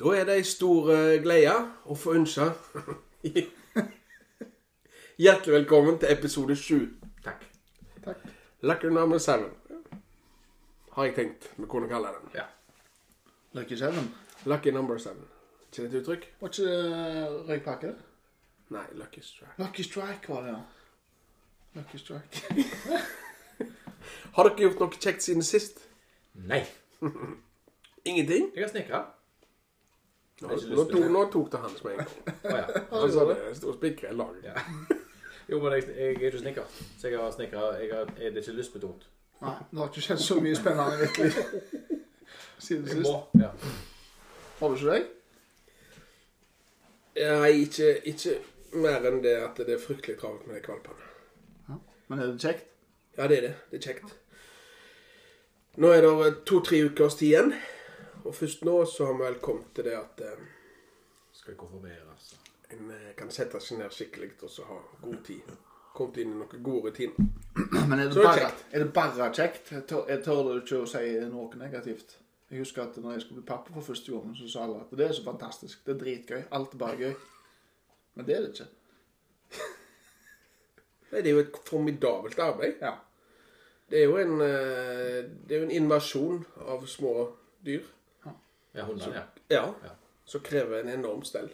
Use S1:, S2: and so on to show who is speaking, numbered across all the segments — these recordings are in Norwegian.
S1: Da er det ei stor eh, glede å få ønske Hjertelig velkommen til episode sju. Takk.
S2: Takk.
S1: Lucky number seven. Har jeg tenkt vi kunne kalle den.
S2: Ja. Lucky Seven.
S1: Lucky number seven. Ikke det et uttrykk?
S2: Var ikke det røykpakke? det?
S1: Nei, lucky strike.
S2: Lucky Strike var det, ja. Lucky Strike.
S1: Har dere gjort noe kjekt siden sist?
S3: Nei.
S1: Ingenting?
S3: Jeg har snekra.
S1: Nå,
S3: Jeg har ikke
S1: nå,
S3: lyst til
S1: tok,
S3: det.
S1: nå tok det hans med en gang.
S3: Å ja.
S1: Han sa det. Jeg sto og spikra i lag.
S3: Ja. Jo, men jeg, jeg er ikke snekker. Så jeg har snekra Jeg har, jeg, det er ikke lystbetont.
S2: Nei, det har ikke skjedd så mye spennende virkelig siden
S3: Jeg må.
S2: sist.
S3: Ja.
S2: Har du ikke deg?
S1: Nei, ikke, ikke mer enn det at det er fryktelig travelt med de valpene.
S2: Men er det kjekt?
S1: Ja, det er det. Det er kjekt. Nå er det to-tre ukers tid igjen. Og først nå så har vi vel kommet til det at eh,
S3: Skal jeg konfirmere, altså.
S1: en eh, kan sette seg ned skikkelig og så ha god tid. Kommet inn i noen gode rutiner.
S2: Men er
S1: Så er det
S2: det bare,
S1: kjekt.
S2: er det bare kjekt? Tør, jeg tør du ikke å si noe negativt? Jeg husker at når jeg skulle bli pappa for første gangen, så sa alle at det er så fantastisk. Det er dritgøy. Alt er bare gøy. Men det er det ikke.
S1: Nei, Det er jo et formidabelt arbeid.
S2: Ja.
S1: Det er jo en, eh, det er jo en invasjon av små dyr.
S3: Ja, hundene, ja.
S1: Ja.
S3: Ja.
S1: Som krever en enorm stell.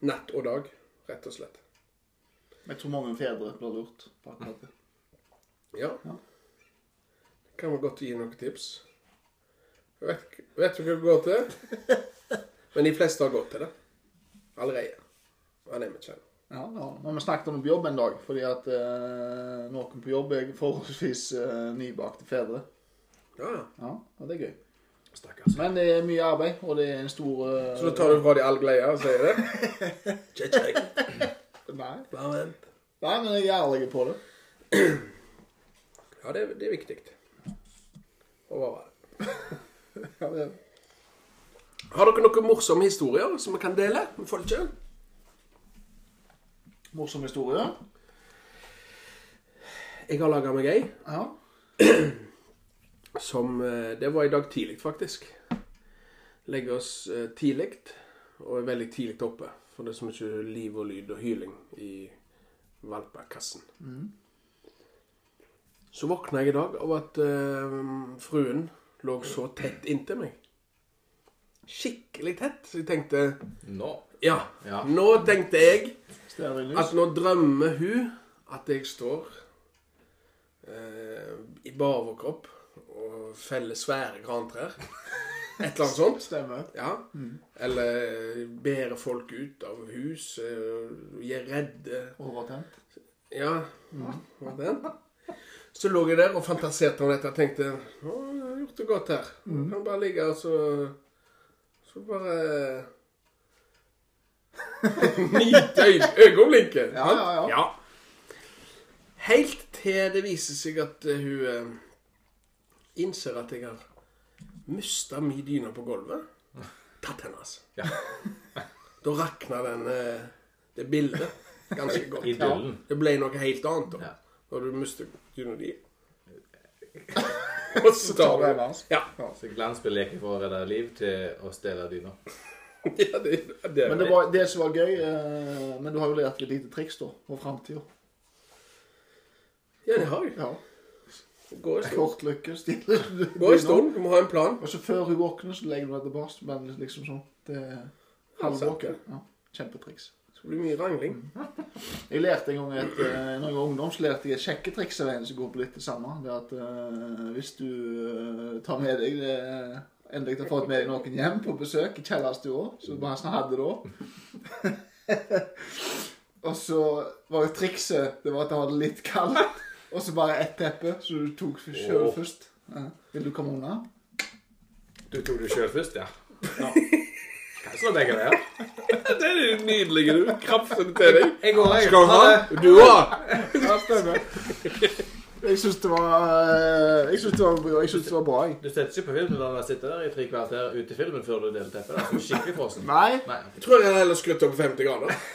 S1: Natt og dag, rett og slett.
S2: Men Jeg tror mange fedre blir lurt på akkurat det.
S1: Ja.
S2: Ja.
S1: Kan vi godt gi noen tips? Vet, vet du hva det går til? Men de fleste har gått til det. Allerede. Han er med kjent.
S2: Ja, ja. Men vi snakket om jobb en dag, fordi at eh, noen på jobb er forholdsvis eh, nybakte fedre.
S1: Ja, ja.
S2: Ja, og det er gøy.
S3: Stakkars.
S2: Men det er mye arbeid, og det er en stor eh,
S1: Så da tar du fra de all glede og sier det? Check, check.
S2: Nei.
S1: Bare vent.
S2: Nei, men jeg er ærlig på det.
S1: Ja, det, er- det er viktig. Å være det.
S2: Ja, det er...
S1: Har dere noen morsomme historier som vi kan dele med folket?
S2: Morsom historie.
S1: Jeg har laga meg ei
S2: Ja.
S1: som eh, Det var i dag tidlig, faktisk. Legger oss eh, tidlig, og er veldig tidlig oppe. For det er så mye liv og lyd og hyling i valpekassen. Så våkna jeg i dag av at eh, fruen lå så tett inntil meg. Skikkelig tett. Så jeg tenkte
S3: Nå.
S1: Ja,
S3: Ja.
S1: nå tenkte jeg
S2: Stearinlys.
S1: at nå drømmer hun at jeg står eh, i bare overkropp og feller svære grantrær. Et eller annet sånt.
S2: Stemmer.
S1: Ja. Eller bærer folk ut av hus. eh, Jeg er redde.
S2: Overtent.
S1: Ja. mm, Var det den? Så lå jeg der og fantaserte om dette og tenkte Å, jeg har gjort det godt her.
S2: Mm.
S1: Jeg kan bare ligge og så Så bare Nyte øy- øyeblikket.
S2: Ja,
S1: sant?
S2: ja, ja.
S1: Helt til det viser seg at eh, hun eh, innser at jeg har mista mi dyne på gulvet. Tatt henne, altså.
S3: Ja.
S1: da rakna den, eh, det bildet ganske godt.
S3: Idyllen.
S1: Det ble noe helt annet da.
S3: Ja.
S1: Når du mister dyna di. Og så tar
S2: du
S1: du
S2: henne, altså.
S1: Ja,
S3: Så glansbeleken for å redde liv til å stjele dyna.
S1: ja det, det er
S2: Men det, var, det som var gøy eh, Men du har jo lært et lite triks, da, for framtida.
S1: Ja, det har jeg.
S2: Ja.
S1: Det går en stund.
S2: Kort lykke, stille
S1: Går en stund. Du må ha en plan.
S2: Og så før hun våkner, så legger du deg tilbake, men liksom sånn det halvvåken. Ja, kjempetriks.
S1: Altså. Det blir mye rangling.
S2: Jeg lærte en gang et, eh, når jeg var ungdom, så lærte jeg et sjekketriks av en som går på litt det samme. Det er at eh, hvis du eh, tar med deg det eh, Endelig har fått med deg noen hjem på besøk i kjellerstua, sånn, som Hansen hadde da. og så var jo trikset det var at det var litt kaldt, og så bare ett teppe, så du tok sjøl
S3: Åh.
S2: først. Ja. Vil du komme unna?
S3: Du tok det sjøl først, ja? Ja. Hva er det som er begge veier?
S1: Det er jo nydelig. Du krafser det til deg.
S3: Jeg går, jeg.
S1: Skal du ha? Du òg.
S2: Ja, stemmer. Jeg syns det var eh, Jeg syns det var, jeg synes det var bra, jeg.
S3: Du setter ikke på filmen når du sitter der i tre kvarter ute i filmen før du deler teppet. da. Du er Skikkelig frossen.
S2: Nei.
S3: Nei.
S1: Tror jeg heller skulle opp på 50 grader.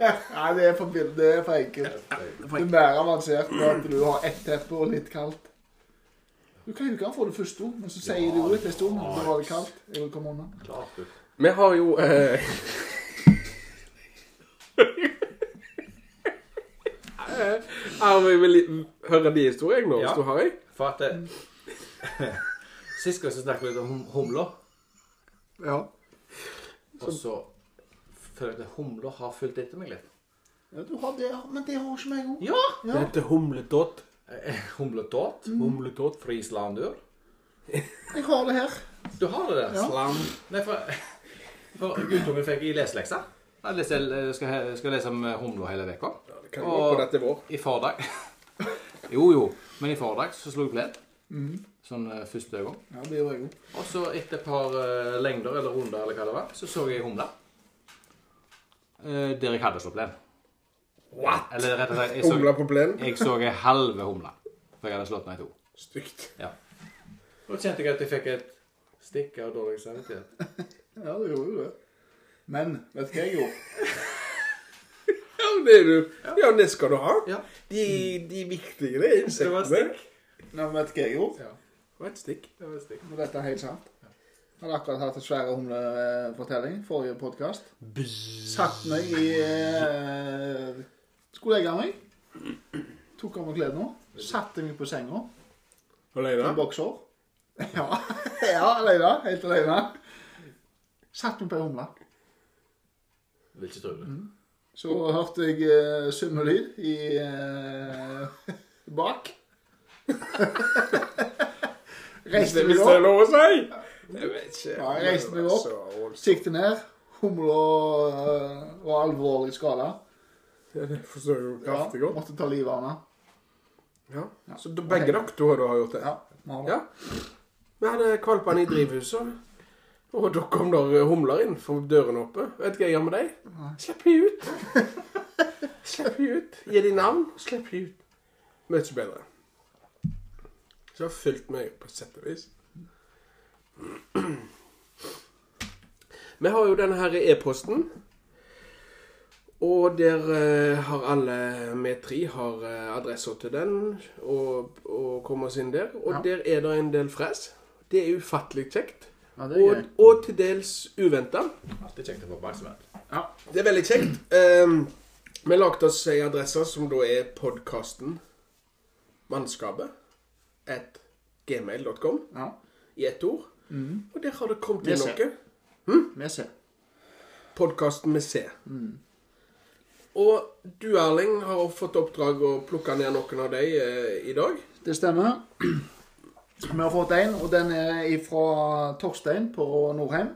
S2: Nei, det er for, bild- det er for enkelt. Det er mer avansert med at du har ett teppe og litt kaldt. Du kan jo ikke få det første ord, men så sier du ordet til en stund. Da var det kaldt. Jeg vil komme unna.
S3: Klart du.
S1: Vi har jo eh, Jeg vil li- høre de historiene nå,
S3: Ja.
S1: hvis du har ei.
S3: For at eh, Sist gang så snakket vi litt om hum- humler.
S2: Ja.
S3: Og så føler jeg at humler har fulgt etter meg litt.
S2: ja du har det, men det har ikke meg òg.
S3: Ja!
S1: Det heter humledott.
S3: Eh, Humledott.
S1: Humledott.
S3: Mm. Fra Islandur.
S2: Jeg har det her.
S3: Du har det der?
S2: Ja.
S1: Slam.
S3: Nei, for, for guttungen fikk i leseleksa. Jeg leser, eh, skal, skal lese om humla hele veka.
S1: Det kan gå på dette vår.
S3: I fordag Jo, jo. Men i fordag så slo jeg pledd. Sånn eh, første gang.
S2: Ja, det gjør jeg òg.
S3: Og så etter et par eh, lengder eller runder eller hva det var, så så jeg ei humle. Eh, der jeg hadde slått pledd.
S1: What?
S3: Eller rett og slett jeg så,
S1: Humla på plenen.
S3: jeg så ei halve humle. For jeg hadde slått den i to.
S1: Stygt.
S3: Ja. Og så kjente jeg at jeg fikk et stikk av dårlig samvittighet.
S2: Ja, det gjorde jo det. Men vet du hva jeg gjorde?
S1: Ja, men det er du. Ja, det skal du ha.
S3: Ja.
S1: De, de viktige, det er
S3: Det
S1: insektene.
S3: var stikk.
S2: Nei, men vet du hva jeg gjorde?
S3: Ja,
S1: Det var et stikk.
S3: det var stikk.
S2: Og dette er helt sant. Jeg hadde akkurat hatt en svær humlefortelling forrige podkast. Satt meg i eh, Skulle legge meg. Tok av meg klærne. Satte meg på senga.
S1: Alene?
S2: En bokser. Ja, ja alene. Helt alene. Satt meg på ei humle.
S3: Vil ikke tro det.
S1: Mm.
S2: Så hørte jeg eh, summelyd i eh, bak.
S1: Hvis
S2: Reiste
S1: det
S2: meg
S1: hvis det er
S2: opp.
S1: lov å si? Jeg vet ikke.
S2: Ja, jeg reiste meg opp.
S1: Så-
S2: Sikte ned. Humla eh, var alvorlig skada.
S1: Ja, Det forstår jeg jo
S2: Ja,
S1: kraftig godt.
S2: måtte ta livet av henne.
S1: Ja. Så da- begge dere to har da gjort det?
S2: Ja, vi har det.
S1: Ja. Vi hadde kvalpene i drivhuset, og da kom der humler inn for døren oppe. Vet du hva jeg gjør med dem? Slipp de ut. Slipp de ut. Gi de navn, slipp de ut. Mye bedre. Så det har fulgt meg på sett og vis. Vi har jo denne her e-posten. Og der eh, har alle vi tre har eh, adresser til den, og, og kommer oss inn der. Og
S2: Ja.
S1: der er det en del fres. Det er ufattelig kjekt.
S2: Ja, det er
S1: Og,
S2: gøy.
S1: og til dels uventa.
S3: Alltid kjekt å få oppmerksomhet.
S1: Mm.
S2: Ja.
S1: Det er veldig kjekt. Ehm, vi lagde oss ei adresse som da er podkasten Mannskapet at gmail.com
S2: ja.
S1: i ett ord. Og der har det kommet inn
S2: Mm. Med C.
S1: noe.
S2: Vi ser.
S1: Podkasten med C.
S2: Mm.
S1: Og du, Erling, har fått oppdrag å plukke ned noen av dem eh, i dag.
S2: Det stemmer. Vi har fått en, og den er fra Torstein på Norheim.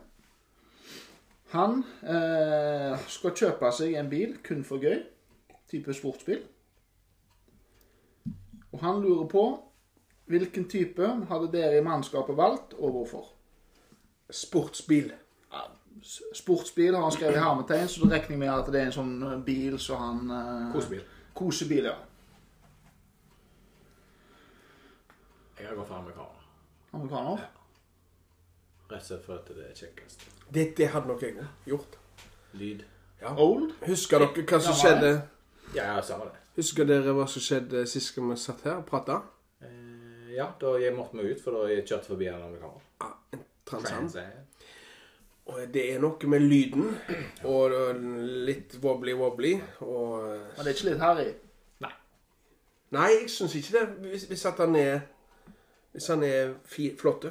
S2: Han eh, skal kjøpe seg en bil kun for gøy. Type sportsbil. Og han lurer på hvilken type hadde dere i mannskapet valgt, og hvorfor?
S1: Sportsbil.
S2: S- Sportsbil har han skrevet i hermetegn, så da regner jeg med at det er en sånn eh, bil som han eh,
S3: Kosebil.
S2: Kosebil, ja.
S3: Jeg har gått for amerikaner.
S2: Amerikaner.
S3: Rett og slett for at det er kjekkest.
S1: Det, det hadde nok jeg gjort.
S3: Lyd.
S2: Old.
S1: Husker dere hva som
S2: Ja,
S1: skjedde
S3: Ja, ja, samme det.
S1: Husker dere hva som skjedde sist gang vi satt her og prata?
S3: Eh, ja, da jeg måtte meg ut, for da jeg kjørte forbi en amerikaner.
S1: Ja, Ah, en transam.
S3: Sånn.
S1: Og det er noe med lyden og litt wobbly-wobbly og eh,
S2: Men det er ikke litt harry?
S1: Nei, jeg syns ikke det. Hvis, hvis at han er Hvis han er fi, flotte.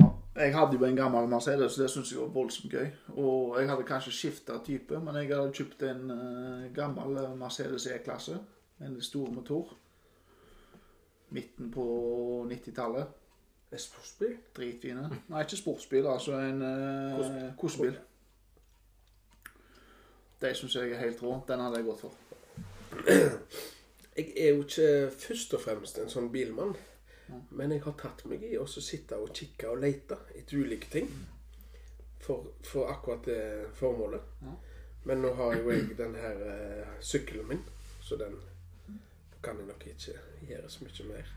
S2: Ja, jeg hadde jo en gammel Mercedes, så det syntes jeg var voldsomt gøy. Og jeg hadde kanskje skifta type, men jeg hadde kjøpt en eh, gammel Mercedes E-klasse. En stor motor. Midten på 90-tallet.
S1: En sportsbil?
S2: Dritfine. Nei, ikke sportsbil, altså en eh, kosebil. De syns jeg er helt rå. Den hadde jeg gått for.
S1: Jeg er jo ikke først og fremst en sånn bilmann. Men jeg har tatt meg i å så sitte og kikke og lete etter ulike ting. For, for akkurat det formålet.
S2: Ja.
S1: Men nå har jo jeg den her eh, sykkelen min, så den kan jeg nok ikke gjøre så mye mer.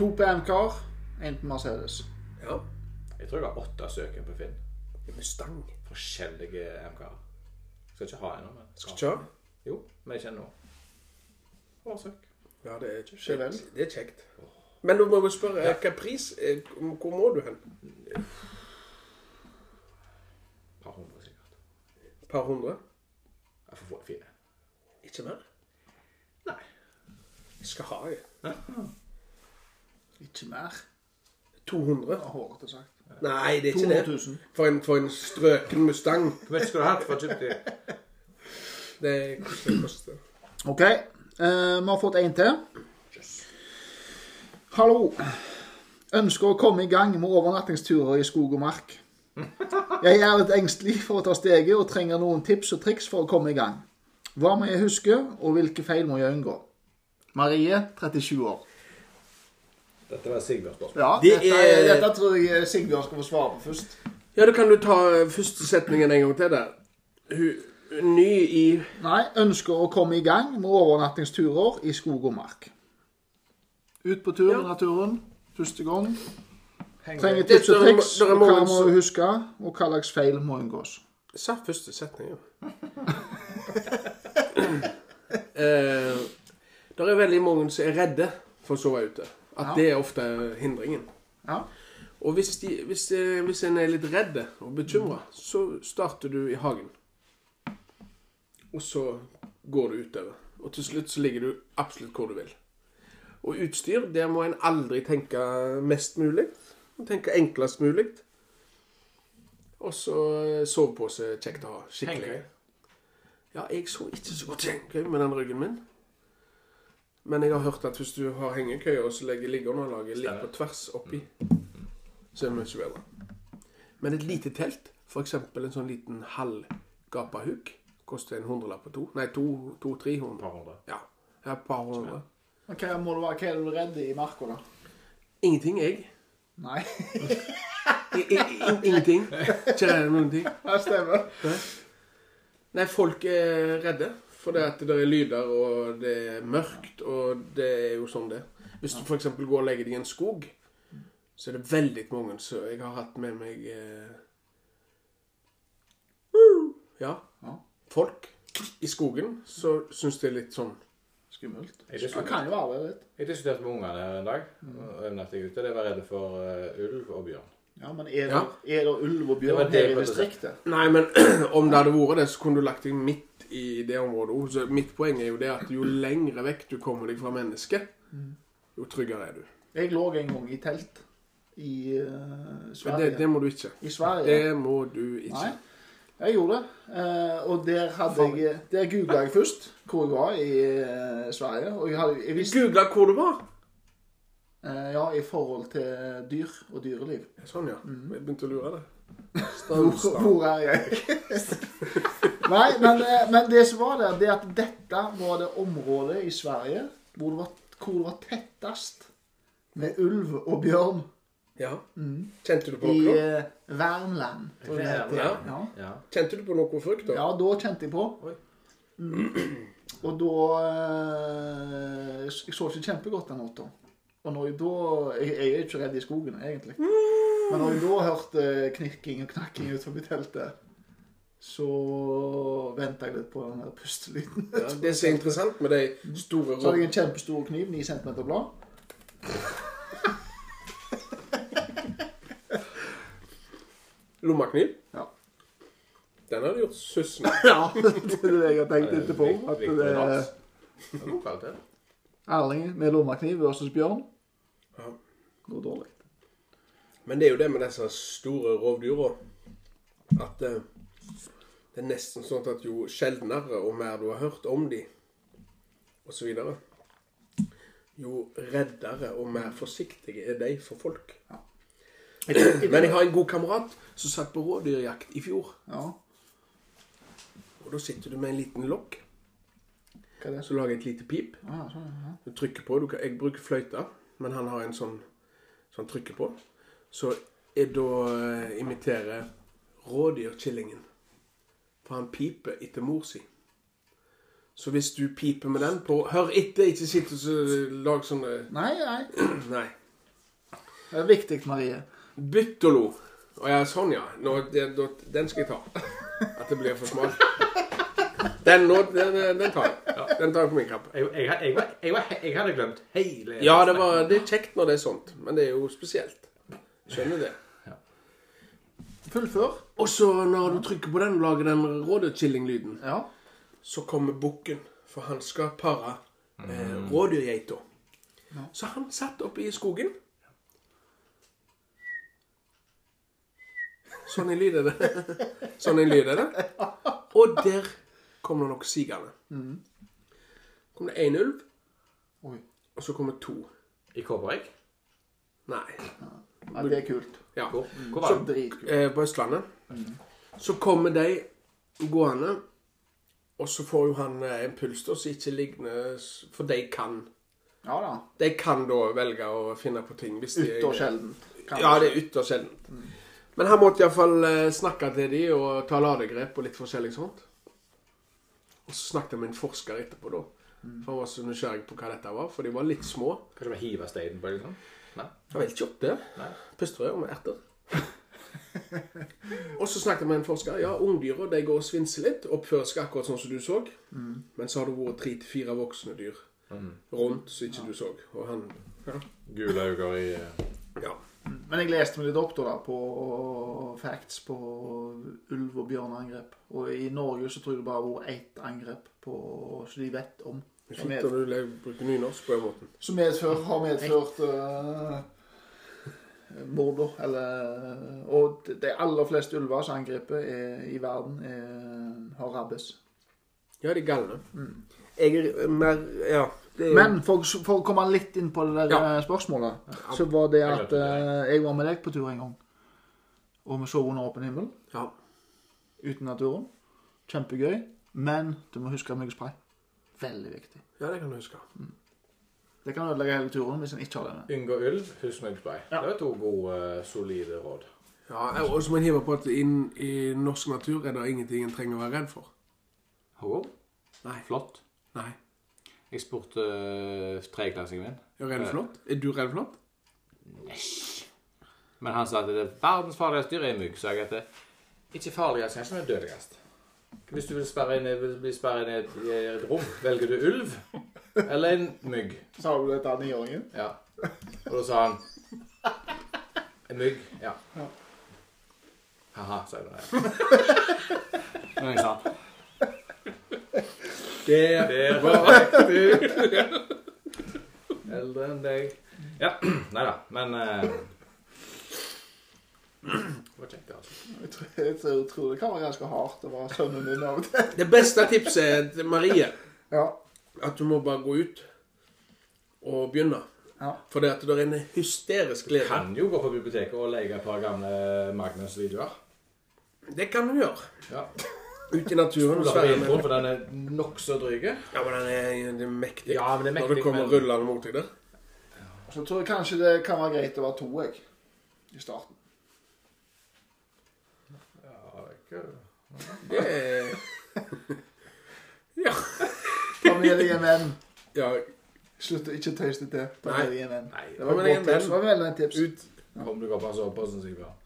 S2: To PM-kar, én på Mercedes.
S1: Ja.
S3: Jeg tror jeg har åtte søker på Finn.
S1: En Mustang.
S3: Forskjellige MK-er. Skal ikke ha en, men
S1: Skal ikke ha.
S3: Jo, men ikke ennå. Årsøk.
S1: Ja, det er ikke
S2: Chevel.
S1: kjekt. Det er kjekt. Men du må jo spørre eh, hva pris eh, Hvor må du hen?
S3: Et par hundre sikkert.
S1: Et par hundre?
S3: Jeg får få fire.
S1: Ikke mer?
S3: Nei.
S1: Jeg skal ha jeg.
S2: Ikke mer,
S1: 200.
S2: har hårete sagt.
S1: Nei, det er ikke
S2: 200
S1: det.
S2: 000.
S1: For en, for en strøken Mustang.
S3: Hvor mye skulle du hatt for å kjøpe de?
S1: Det koster. koster.
S2: OK. eh, vi har fått en til. Hallo. Ønsker å komme i gang med overnattingsturer i skog og mark. Jeg er litt engstelig for å ta steget og trenger noen tips og triks for å komme i gang. Hva må jeg huske, og hvilke feil må jeg unngå? Marie, 37 år.
S3: Dette var Sigbjørns spørsmål.
S2: Ja,
S1: Det
S2: dette,
S1: er-
S2: dette tror jeg Sigbjørn skal få svare på først.
S1: Ja, da kan du ta eh, første setningen en gang til der. Hun hun ny i
S2: Nei, ønsker å komme i gang med overnattingsturer i skog og mark. Ut på tur i naturen. Første gang. Trenger tips og
S1: Det er-
S2: triks.
S1: det er
S2: og Hva
S1: mange
S2: må
S1: som-
S2: du huske, og hva slags feil må unngås?
S1: Sa første setning, jo. eh, det er veldig mange som er redde for å sove ute. At
S2: Ja.
S1: det er ofte hindringen.
S2: Ja.
S1: Og hvis, de, hvis, eh, hvis en er litt redd og bekymra, så starter du i hagen. Og så går du utover. Og til slutt så ligger du absolutt hvor du vil. Og utstyr, der må en aldri tenke mest mulig. og Tenke enklest mulig. Og så eh, sovepose kjekt å ha. Skikkelig.
S3: Hengekøye.
S1: Ja, jeg så ikke så godt hengekøye med den ryggen min. Men jeg har hørt at hvis du har hengekøye og så legger liggeunderlaget litt på tvers oppi, så er det mye bedre. Men et lite telt, f.eks. en sånn liten halvgapahuk, koster en hundrelapp på to. Nei, to-tre to, tre
S3: Et
S1: hundre.
S3: par hundre.
S1: Ja, ja, et par hundre.
S2: Men hva, må du være, hva er du redd i marka, da?
S1: Ingenting, jeg.
S2: Nei,
S1: I- i- i- Ingenting. Ikke redd noen ting.
S2: det stemmer.
S1: Nei, folk er redde. For det at det er lyder, og det er mørkt, og det er jo sånn det er. Hvis du f.eks. går og legger deg i en skog, så er det veldig mange som jeg har hatt med meg eh... Ja.
S2: Ja.
S1: Folk i skogen så syns det er litt sånn
S2: Skummelt.
S3: Er det
S2: Det kan jo være litt.
S3: Jeg diskuterte med ungene her en dag. og Overnatting ute. De var redde for eh, ulv og bjørn.
S2: Ja, men er det,
S1: Ja.
S2: er det ulv og
S3: Det var
S2: bjørn
S3: det
S2: her
S3: jeg
S2: i
S3: prøvde å si.
S2: distriktet?
S1: Nei, men om det hadde vært det, så kunne du lagt deg midt i det området òg. Så mitt poeng er jo det at jo lengre vekk du kommer deg fra mennesket, jo tryggere er du.
S2: Jeg lå en gang i telt i eh,
S1: Men det,
S2: Sverige.
S1: det må du ikke.
S2: I Sverige.
S1: Det må du ikke.
S2: Nei, jeg gjorde det. Eh, og der hadde jeg Der googla jeg først hvor jeg var i eh, Sverige. Og jeg, hadde, jeg visste
S1: Googla hvor du var.
S2: eh, Ja, i forhold til dyr og dyreliv.
S1: Sånn, ja.
S2: Mm.
S1: Jeg begynte å lure deg.
S2: Hvor,
S1: Strømstad.
S2: hvor er jeg? Nei, men, eh, men det som var der, det er at dette var det området i Sverige hvor det var, hvor det var tettest med ulv og bjørn.
S1: Ja. Kjente du på
S2: I
S1: noe?
S2: eh, Värmland. tror jeg det heter.
S1: Värmland.
S2: Ja.
S3: Ja.
S1: Kjente du på noe frukt, da?
S2: Ja, da kjente jeg på. Mm.
S3: Oi.
S2: Og da eh, Jeg så ikke kjempegodt den natta. Og når jeg da Jeg, jeg er ikke redd i skogen, egentlig. Men når jeg da hørte knirking og knakking ut forbi teltet, så venta jeg litt på den der pustelyden.
S1: Ja, Det som er interessant med
S2: Mm.
S1: de store
S2: Så hadde
S1: rottene
S2: jeg en kjempestor kniv, 9 cm blad.
S1: Lommekniv,
S2: Ja.
S1: den har du gjort sussen.
S2: ja, det er det jeg har tenkt etterpå. At
S3: Viktig
S2: det er
S3: dans. Det er lokalt, det.
S2: Erling med lommekniv versus Bjørn.
S1: Ja.
S2: Går dårlig.
S1: Men det er jo det med disse store rovdyra at eh, det er nesten sånn at jo sjeldnere og mer du har hørt om de, osv., jo reddere og mer forsiktige er de for folk. Men jeg har en god kamerat som satt på rådyrjakt i fjor.
S2: Ja,
S1: Og da sitter du med en liten lokk
S2: hva er det?
S1: som lager et lite pip.
S2: Ah, sånn, ja.
S1: Du trykker på. Du kan, jeg bruker fløyta, men han har en sånn som han trykker på. Så jeg da eh, imiterer rådyrkillingen. For han piper etter mor si. Så hvis du piper med den på Hør etter, ikke sitt og så lag sånne
S2: Nei, nei.
S1: Nei.
S2: Det er viktig, Marie.
S1: Byttolo. Å ja, sånn ja. Nå, det, da- den skal jeg ta. At det blir for smalt. Den, nå, den, den tar jeg.
S3: Ja.
S1: Den tar jeg på min kappe.
S3: Jeg, jeg, jeg, var- jeg, var- jeg hadde glemt hele
S1: Ja, det, var, det er kjekt når det er sånt, men det er jo spesielt. Skjønner det.
S2: Fullfør.
S1: Og så når du trykker på den og lager den rådyrkillinglyden,
S2: Ja.
S1: så kommer bukken, for han skal pare eh, rådyrgeita. Så han satt oppe i skogen. Sånn en lyd er det. Sånn en lyd er det. Og der kom det nok sigende. Kom det én ulv,
S2: Oi.
S1: og så kom det to.
S3: I Kårberg.
S1: Nei.
S2: Ja, det er kult.
S1: Ja.
S3: Hvor, hvor var den?
S2: Dritkult.
S1: eh, på Østlandet. Så kommer de gående, og så får jo han eh, en puls da, som ikke ligner s- For de kan.
S2: Ja da.
S1: De kan da velge å finne på ting hvis de
S2: Ytterst sjelden. kan
S1: Ja,
S2: man
S1: det
S2: si.
S1: er ytterst sjeldent. Men han måtte iallfall eh, snakke til de og ta ladegrep og litt forskjellig sånt. Og så snakket jeg med en forsker etterpå, da.
S2: Mm.
S1: For han var så nysgjerrig på hva dette var, for de var litt små.
S3: Kanskje bare hive steinen på liksom? Nei.
S1: Jeg vet ikke opp det.
S3: Nei.
S1: Pusterøyer med erter. og så snakket jeg med en forsker. Ja, ungdyra de går og svinser litt. Oppfører seg akkurat sånn som du så.
S2: Mm.
S1: Men så har det vært tre til fire voksne dyr rundt som ikke du så. Og han Ja.
S3: Gule øyne i eh,
S1: ja.
S2: Men jeg leste meg litt opp da, da på facts på ulv- og bjørneangrep. Og i Norge så tror jeg det bare har vært ett angrep på, så de vet om.
S1: Det er
S2: Som,
S1: fint
S2: med,
S1: når du le- bruker nynorsk på den måten.
S2: som medfør, har medført eh, mord, da. Eller Og de- de aller fleste ulver som angriper er- i verden, er, har Mm. rabies.
S1: Ja, de er galne. Jeg er eh, mer Ja. Det er,
S2: Men for, for å komme litt inn på det der
S1: Ja.
S2: eh, spørsmålet, så var det
S3: Jeg
S2: at
S3: glemte
S2: eh, jeg var med deg på tur en gang. Og vi sov under åpen himmel,
S1: ja.
S2: uten naturen. Kjempegøy. Men du må huske myggspray. Veldig viktig.
S1: ja, det kan du huske.
S2: Det kan ødelegge hele turen hvis en ikke har det med.
S3: Unngå ulv, husk myggsprei.
S2: Ja.
S3: Det var to gode, eh, solide råd.
S1: Ja, og så må en hive på at inn i norsk natur er det ingenting en trenger å være redd for.
S3: Håvard?
S1: Nei.
S3: Flott.
S1: Nei.
S3: Jeg spurte øh, tredjeklassingen min.
S1: Er du redd for noe? Er du redd for noe?
S3: Men han sa at det verdens farligste dyr er mygg. Så jeg at det ikke farligst, kanskje, men dødeligst. Hvis du vil, sperre inn, vil bli sperret inn i et, i et rom, velger du ulv eller en mygg?
S2: Sa du dette av niåringen?
S3: Ja. Og da sa han En mygg. Ja. Ha-ha, sa jeg da. Men jeg sa
S1: Det
S3: Der var riktig. Eldre enn deg. Ja. Nei da, men eh, Det var kjekt, det, altså.
S2: Jeg tror, jeg tror, jeg tror det kan være ganske hardt å være sønnen din av og til.
S1: Det beste tipset er til Marie
S2: Ja.
S1: at du må bare gå ut og begynne.
S2: Ja.
S1: For det at det er en hysterisk
S3: Du
S1: glede.
S3: kan jo gå på biblioteket og leie et par gamle Magnus-videoer.
S1: Det kan du gjøre.
S3: Ja.
S1: Ut i naturen og
S3: Ola har
S1: sverre
S3: intro,
S1: med
S3: for den er nokså dryg.
S1: Ja, men den er, den er mektig.
S3: Ja, men det er
S1: Når
S3: mektig,
S1: du kommer
S3: men-
S1: rullende mot deg der.
S2: Så tror jeg kanskje det kan være greit å være to, jeg. I starten.
S1: Det er
S2: Ta med deg en venn.
S1: Ja,
S2: Slutt å ikke tøyse til. Ta
S1: Nei.
S2: med deg en venn.
S3: Nei,
S2: Det var
S1: men
S2: et
S1: jeg er
S2: godt tips.
S1: venn.
S2: Det var vel et tips.
S1: ut
S3: Kom du går på en soveposen, Sigbjørn.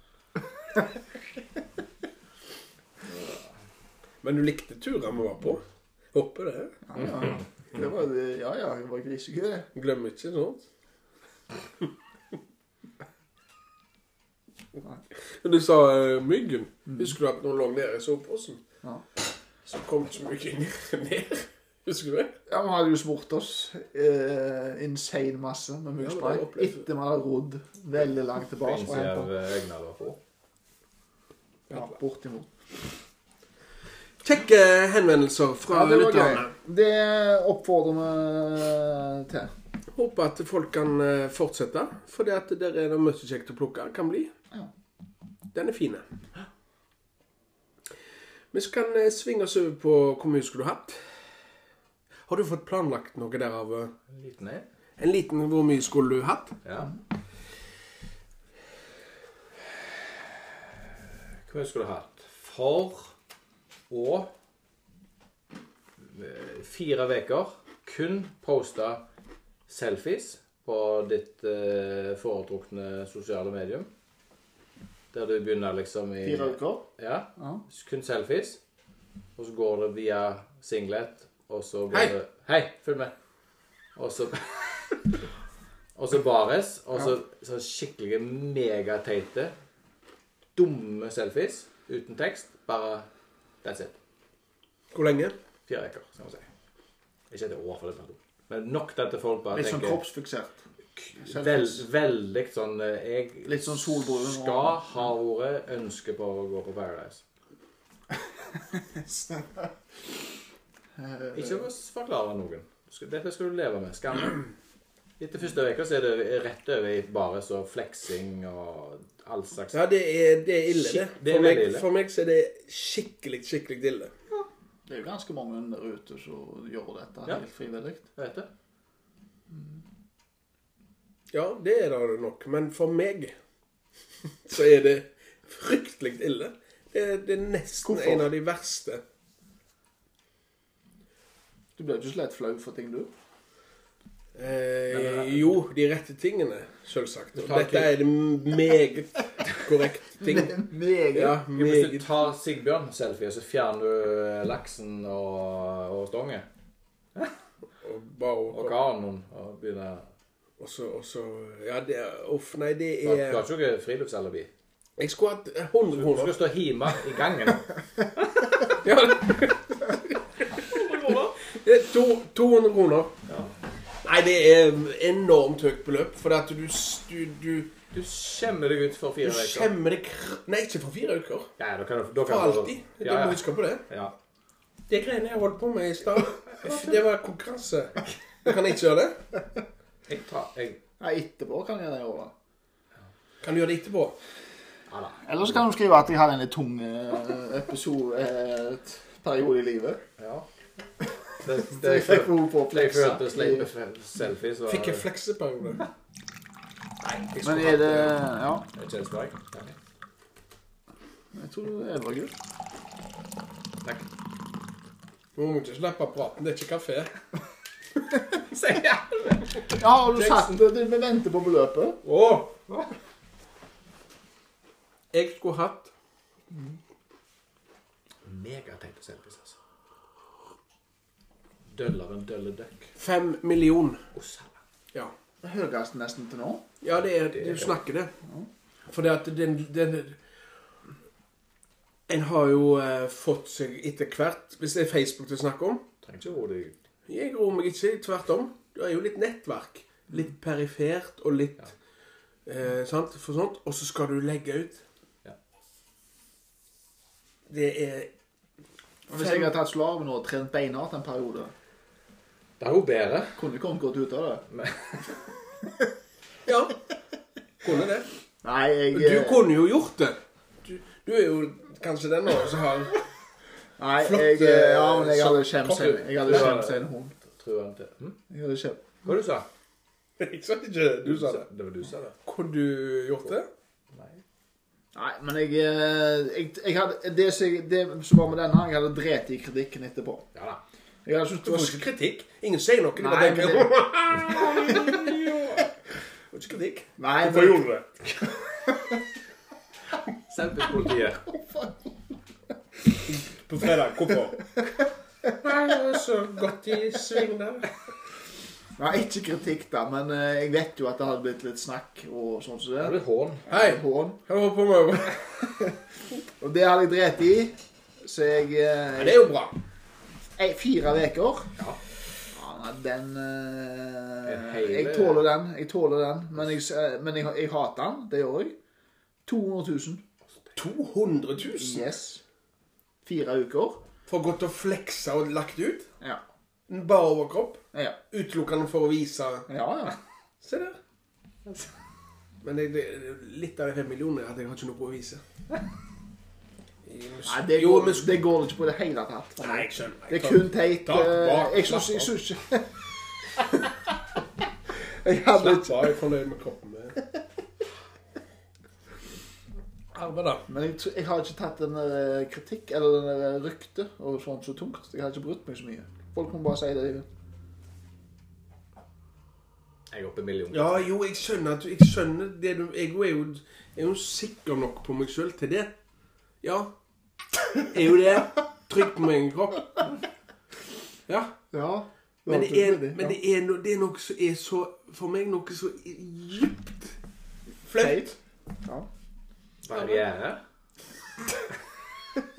S1: Men du likte turen vi var på. Håper det.
S2: Ja, det var, ja, ja, det var grisegøy, det.
S1: Glem ikke sånt. Men Du sa eh, myggen. Husker du at når hun lå nede i soveposen,
S2: Ja.
S1: så kom ikke myggen ned? Husker du det?
S2: Ja, Vi hadde jo smurt oss eh, insane masse med
S1: Ja,
S2: myggspray
S1: det var opplevd.
S2: etter vi hadde rodd veldig langt tilbake. for å
S3: Innser
S2: hente.
S3: øynene da på.
S2: Ja, bortimot.
S1: Kjekke henvendelser fra
S2: Ja, det var gøy.
S1: lytterne.
S2: Det oppfordrer vi til.
S1: Håper at folk kan eh, fortsette, for det at der er det mye kjekt å plukke. Kan bli.
S2: Ja.
S1: Den er fin. Vi skal eh, svinge oss over på hvor mye skulle du hatt. Har du fått planlagt noe der av eh,
S3: Liten en.
S1: En liten hvor mye skulle du hatt?
S3: Ja. Hvor mye skulle du hatt for å eh, fire uker kun poste selfies på ditt eh, foretrukne sosiale medium? Der du begynner liksom i
S2: Fire uker.
S3: Ja.
S2: Ja.
S3: Kun selfies. Og så går det via singlet, og så
S1: Hei.
S3: bare Hei! Følg med. Og så Og så bares, og så så skikkelig megateite, dumme selfies uten tekst. Bare That's it.
S1: Hvor lenge?
S3: Fire uker, skal vi si. Ikke et år, for det blir dumt. Men nok til at folk bare
S2: Litt sånn
S3: tenker
S2: kroppsfiksert.
S3: Vel, veldig sånn eh, Jeg
S2: Litt sånn solbrun.
S3: skal ha vært ønske på å gå på Paradise.
S2: Eh,
S3: Ikke for å forklare noen. Du skal- Dette skal du leve med. Skam. Etter første uka så er det rett over i bare så fleksing og all slags
S1: Ja, det er, det er ille, det.
S3: Shit, det er
S1: for, meg,
S3: veldig ille.
S1: for meg så er det skikkelig, skikkelig ille.
S2: Det er jo ganske mange der ute som gjør dette
S3: Ja.
S2: helt frivillig.
S3: Vet du?
S1: Ja, det er det nok. Men for meg så er det fryktelig ille. Det er, det er nesten
S2: Hvorfor?
S1: en av de verste.
S2: Du blir jo ikke så lett flau for ting, du.
S1: Eh, jo, de rette tingene, selvsagt. Og
S3: tar
S1: dette er det meget korrekt ting.
S2: Meget.
S1: Ja,
S3: Jo, Hvis du
S1: meget.
S3: tar Sigbjørn-selfie, så fjerner du eh, laksen og, og stongen
S1: Og bare
S3: og
S1: og,
S3: kanoen og begynner
S1: og så, og så Ja, det er Uff, nei, det
S3: Du
S1: er
S3: har ikke noe friluftsalibi.
S1: Jeg skulle hatt eh,
S3: Du
S1: 100
S3: skal
S1: kroner.
S3: stå hjemme i gangen.
S1: Ja. Det er to- 200 kroner. Nei, det er enormt høyt beløp. For at du, s- du, du,
S3: Du skjemmer deg ut for
S1: du
S3: fire uker.
S1: skjemmer det kr... Nei, ikke for fire uker.
S3: Ja, da kan du, da
S1: For
S3: kan du-
S1: alltid. Du må
S3: Ja, ja.
S1: huske på det.
S3: ja.
S1: De greiene jeg holdt på med i stad, det var konkurranse. Jeg kan ikke gjøre det.
S3: Jeg tar jeg,
S2: Nei, etterpå kan jeg gjøre det.
S1: Kan du gjøre det etterpå?
S3: ja, da.
S2: Ellers kan du skrive at jeg hadde en litt tung eh, episode eh, t- periode i livet.
S3: ja. Det, det,
S2: Jeg
S3: jeg
S2: fikk
S3: følte-
S2: behov for å
S3: det jeg
S2: flekse.
S3: følte sleip selfies var
S1: Fikk en flekseperiode.
S3: jeg
S2: Men
S3: skulle
S2: er
S3: hatt
S2: det Ja,
S3: Er det kjønnspoeng? Nei.
S2: jeg tror det er bra, gutt.
S3: Takk.
S1: Nå må ikke slippe praten. Det er ikke kafé.
S3: Se, ja.
S2: Ja, har du satt det? Du- Vi venter på beløpet.
S1: Å! Jeg skulle hatt
S3: Megateite selfies, altså. Døller en dølle døkk.
S1: fem million.
S3: Å, sala.
S1: Ja.
S2: Det høyeste nesten til nå.
S1: Ja, det er, du snakker det. For det at den, den En har jo eh, fått seg etter hvert Hvis det er Facebook du snakker om
S3: Trenger ikke roe deg ut.
S1: Jeg roer meg ikke, tvert om. Det er jo litt nettverk. Litt perifert og litt eh, sant, for sånt. Og så skal du legge ut.
S3: Ja.
S1: Det er
S2: Og Hvis jeg hadde tatt slaven og trent beinhardt en periode,
S3: Det er jo bedre.
S2: kunne jeg kommet godt ut av det.
S1: Ja. Kunne det.
S2: Nei, jeg
S1: Du
S2: eh,
S1: kunne jo gjort det. Du, du er jo kanskje den av oss som har
S2: Nei,
S1: Flott,
S2: jeg, eh, ja, men jeg
S1: eh,
S2: hadde
S1: satt
S2: skjemt
S1: kopp.
S2: seg. Jeg hadde
S3: Ja.
S2: skjemt seg en hund.
S3: Tror han til. Hm?
S2: Jeg hadde skjemt.
S3: Hva du sa
S1: Jeg sa ikke det. Du sa det.
S3: Det var du sa det.
S1: Kunne du gjort det?
S3: Nei.
S2: Nei, men jeg, eh, jeg, jeg hadde, det, som jeg- det som var med denne, jeg hadde drept i kritikken etterpå.
S3: Ja da.
S2: Jeg hadde syntes
S1: Det var ikke kritikk. Ingen sier noe.
S2: Nei,
S1: Nei, det
S2: men
S1: var ikke kritikk.
S2: Nei, men-
S1: Hvorfor gjorde du det?
S3: Selfies-politiet.
S1: På fredag. Hvorfor? Nei, det var så godt i sving der.
S2: Nei, ikke kritikk, da, men eh, jeg vet jo at det hadde blitt litt snakk og sånn som
S3: Det er
S2: det.
S3: litt hån.
S1: Hei,
S2: Hån.
S1: jeg var på meg.
S2: Og det hadde jeg drept i, så jeg eh,
S1: Det er jo bra.
S2: ei, Fire uker.
S3: Ja.
S2: Ja, nei, den eh,
S3: En hel-
S2: Jeg tåler den. Jeg tåler den. Men jeg, s- eh, men jeg, jeg hater den. Det gjør jeg. 200 000.
S1: 200 000
S2: Yes. Fire uker.
S1: for godt å flekse og lagt ut.
S2: Ja.
S1: Bare overkropp.
S2: Ja.
S1: Utelukkende for å vise
S2: Ja, ja.
S1: Se der. Men det, det, litt av de fem millionene er at jeg har ikke noe å vise.
S2: Nei, det
S1: Jo,
S2: går,
S1: men
S2: det går ikke på det hele tatt. for meg.
S1: Nei, jeg skjønner.
S2: Det er kun teit.
S1: Takk,
S2: eh,
S1: bak,
S2: Jeg syns jeg
S1: slapp
S2: syns ikke Jeg hadde
S1: Slapp av, jeg er fornøyd med kroppen min. Arve, da.
S2: Men jeg, tr- jeg har ikke tatt den der kritikk eller den der ryktet og sånt så tungt. Jeg har ikke brutt meg så mye. Folk må bare si det. de vil.
S3: Jeg er oppe i million.
S1: Ja, jo, jeg skjønner at du Jeg skjønner det du Jeg er jo, er jo sikker nok på meg sjøl til det. Ja. Er jo det. Trygg på min egen kropp. Ja.
S2: Ja.
S1: Men det er,
S2: Ja.
S1: men det er, no, det er noe som er så For meg noe så dypt flaut.
S2: Teit. Ja.
S3: Barriere?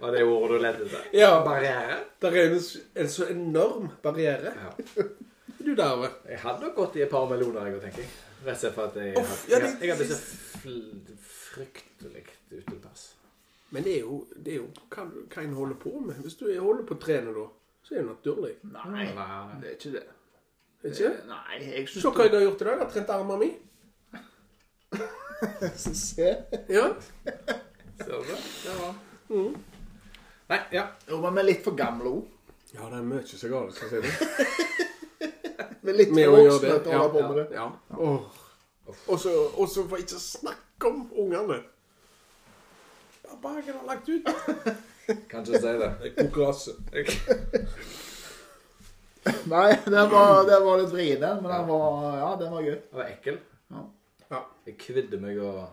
S3: Var det ordet du lette etter?
S1: Ja,
S3: Barriere?
S1: der er en, s- en så enorm barriere.
S3: Ja.
S1: Du der, Arve.
S3: Jeg hadde nok gått i et par meloner, jeg òg, tenker jeg. Rett og slett for at jeg
S1: Uff,
S3: hadde-
S1: ja,
S3: jeg,
S1: det-
S3: jeg hadde så fl- fryktelig utilpass.
S1: Men det er jo, det er jo hva, du- hva en holder på med. Hvis du holder på å trene da, så er det naturlig.
S2: Nei,
S3: Nei.
S2: det er ikke det.
S1: Ikke?
S2: Nei, jeg syns
S1: Se hva jeg har gjort i dag. Jeg har trent armene mine.
S2: Se.
S1: Ja.
S3: Så bra. Det var
S2: Mm.
S3: Nei, ja.
S2: Jo, men vi er litt for gamle òg.
S1: ja, det er mye som er galt, skal jeg si det.
S2: Vi er litt
S1: Med
S2: for
S1: å gjøre
S2: voksne
S1: det.
S2: til å holde på med det.
S1: Ja. Åh. Og så og så får jeg ikke snakke om ungene. Barbagen har lagt ut
S3: Kan ikke si det.
S1: konkurranse.
S2: Nei, den var, den var litt vrien, men den var, ja, den var gøy.
S3: Jeg var ekkel.
S2: Ja.
S1: Ja.
S3: Jeg kvidde meg å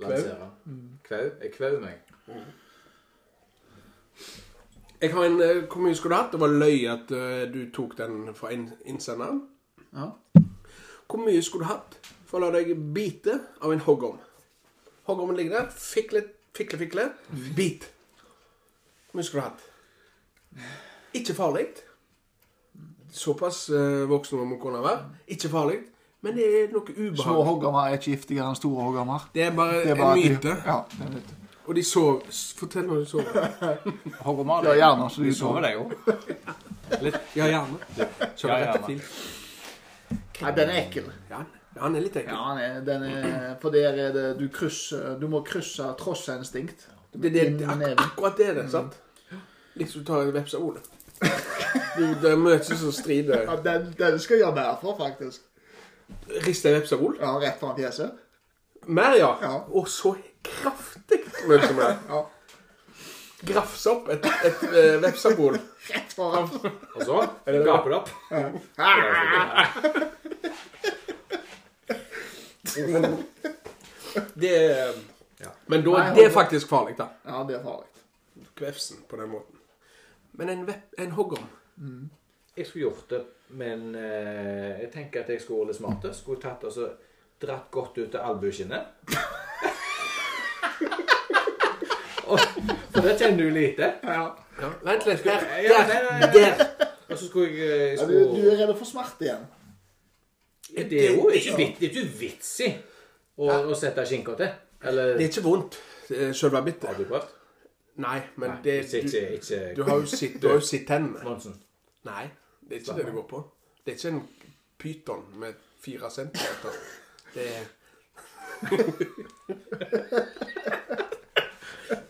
S3: lansere.
S2: Mm.
S3: Kvau? Jeg kvau meg.
S1: Jeg har en eh, Hvor mye skulle du hatt? Det var løye at eh, du tok den fra inn- innsenderen.
S2: Ja.
S1: Hvor mye skulle du hatt for å la deg bite av en hoggorm? Hoggormen ligger der. Fikle, fikle, fikle. Bit. Hvor mye skulle du hatt? Ikke farlig. Såpass eh, voksen må man kunne være. Ikke farlig. Men det er noe
S2: Små
S1: ubehag.
S2: hoggormer er ikke giftigere enn store hoggormer.
S1: Det er bare,
S2: Det er bare
S1: en
S2: at de-
S1: myte.
S2: Ja, det er en myte.
S1: Og de sover S- Fortell når de sover.
S4: Hoggormer,
S2: Ja, gjerne. Så
S4: Du sover deg jo.
S1: Ja, gjerne. Kjøper
S4: Ja, gjerne.
S1: reptil.
S2: Nei, den er ekkel. Mm.
S1: Ja, han er litt ekkel.
S2: Ja, den er, den er, for der er det Du krysser Du må krysse trossinstinkt.
S1: Det, det,
S2: Inn Mm.
S1: det,
S2: med
S1: ak
S2: neven.
S1: akkurat det er det, sant? Litt som du tar en veps av hodet. Du- Det er mye som strider.
S2: Ja, den, den skal jeg gjøre mer for, faktisk.
S1: Rist en veps av hodet?
S2: Ja, rett foran fjeset.
S1: Mer, ja.
S2: Ja.
S1: Og så kraftig mye som er.
S2: Ja.
S1: Grafse opp et, et eh, vepsebol.
S2: Rett foran.
S3: Og så gaper det opp.
S1: Det er-
S3: Ja.
S1: Men da,
S2: Nei,
S1: det er faktisk farlig, da.
S2: Ja, det er farlig.
S1: Kvefsen på den måten. Men en, vep, en hoggorm
S3: Jeg skulle gjort det, men eh, jeg tenker at jeg skulle vært litt smart. Skulle tatt og så dratt godt ut til albueskinnet. Og- For det kjenner du lite.
S2: Ja.
S1: ja. Vent litt. Der,
S3: Ja,
S1: der,
S3: nei, nei, nei.
S1: der.
S3: Og så skulle jeg, eh, jeg
S2: Ja, du,
S3: skulle,
S2: du er redd for smerte igjen.
S3: Det er jo ikke, vit, det er ikke vits i å, å sette skinka til. Eller
S1: Det er ikke vondt, eh, selve
S3: Har
S1: bittet.
S3: du prøvd?
S1: Nei, men
S3: Nei,
S1: det
S3: ikke,
S1: Du,
S3: ikke,
S1: du
S3: ikke
S1: har jo sitt, du har jo sitt tennene.
S3: Monsen.
S1: Nei, det er ikke det det går på. Det er ikke en pyton med fire centimeter. Det er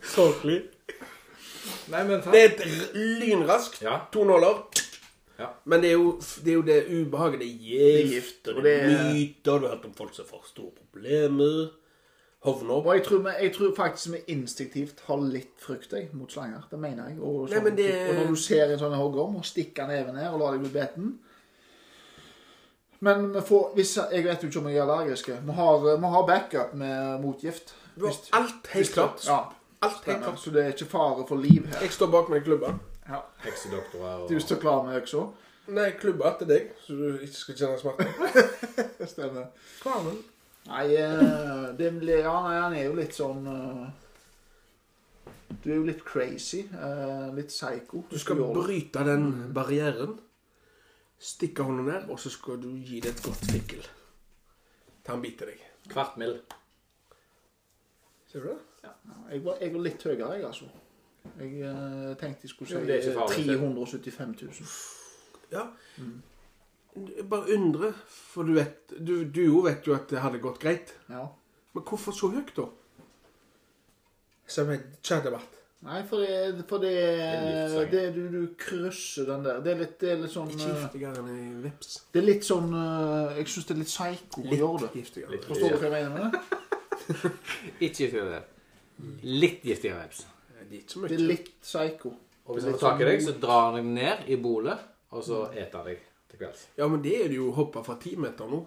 S1: Sorglig.
S3: Nei, men faen.
S1: Det er et r- lynraskt.
S3: Ja.
S1: To nåler.
S3: Ja.
S1: Men det er, jo, det er jo det ubehaget. Det er gift, og det er myter. Du har hørt om folk som får store problemer. Hovner
S2: Og jeg tror, vi- jeg tror faktisk vi instinktivt har litt frykt jeg, mot slanger. Det mener jeg. Og,
S1: Nei,
S2: sånn-
S1: men det-
S2: og når du ser en sånn hoggorm og stikker neven ned og lar deg bli beten Men vi får hvis, Jeg vet jo ikke om jeg er allergisk. Vi har, vi har backup med motgift.
S1: Du har alt helt klart.
S2: Ja,
S1: Alt helt
S2: stemmer.
S1: klart.
S2: Så det er ikke fare for liv her.
S1: Jeg står bak med klubba.
S2: Ja.
S3: Heksedoktorer og
S2: Du står klar med øksa?
S1: Nei, klubba til deg, så du ikke skal kjenne smerten.
S2: Det stemmer.
S1: Hva er det?
S2: Nei, eh, det, blir- ja, nei, han er jo litt sånn eh, Du er jo litt crazy. eh, Litt psycho.
S1: Du skal
S2: gjøre det.
S1: bryte den barrieren, stikke hånda ned, og så skal du gi det et godt fikkel. Til han biter deg.
S3: Kvart mill.
S1: Ser du det?
S2: Jeg var, jeg var litt høyere, jeg, altså. Jeg eh, tenkte jeg skulle
S3: Jo,
S2: si
S3: det er ikke farlig,
S2: eh, 375 000.
S1: Ja. Jeg Bare undre, for du vet du, du jo vet jo at det hadde gått greit.
S2: Ja.
S1: Men hvorfor så høyt, da? Som en chatterbart.
S2: Nei, for det, for det,
S3: er livslang.
S2: det du, du krysser den der. Det er litt, det er litt sånn
S1: Ikke
S2: eh,
S1: giftigere enn en veps.
S2: Det er litt sånn eh, Jeg syns det er litt psycho å gjøre det.
S1: giftigere.
S3: Litt
S2: Forstår du hva jeg mener med det?
S3: Ikke giftig veps. Litt giftig veps.
S1: Det er ikke så
S2: Det er
S1: mye.
S2: litt psycho.
S3: Og hvis han får tak i deg, så drar han deg ned i bolet, og så eter han deg til kvelds.
S1: Ja, men det er det jo å hoppe fra ti meter nå.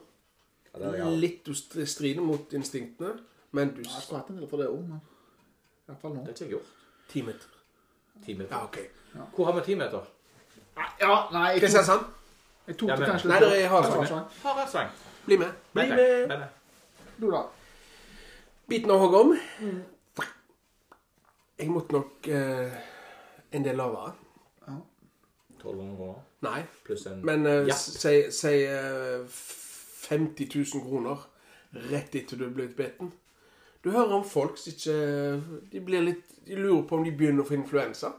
S3: Ja, det er det, ja.
S1: Litt du st- strider mot instinktene, men du
S2: Jeg har hatt en del for det òg, men i hvert fall nå.
S3: Det er ikke jeg gjort.
S1: Ti meter.
S3: Ti meter.
S1: Ja, OK.
S3: Hvor har vi ti meter?
S2: Nei, Ja, nei, jeg tok,
S1: Kristiansand,
S2: jeg tok
S3: Ja,
S2: det
S3: men-
S2: kanskje sånn-
S1: Nei, det er i Haresand.
S2: Haresand.
S3: Haresvang.
S1: bli med. Bli med.
S3: Nei, nei.
S2: Du da?
S1: Biten og hogg om.
S2: Mm.
S1: Jeg måtte nok eh, en del lavere.
S3: 1200 kroner
S1: Nei,
S3: pluss en
S1: men eh,
S3: Ja.
S1: s- si, si eh, f- 50 000 kroner rett etter du er blitt beten. Du hører om folk som ikke de, blir litt, de lurer på om de begynner å få influensa,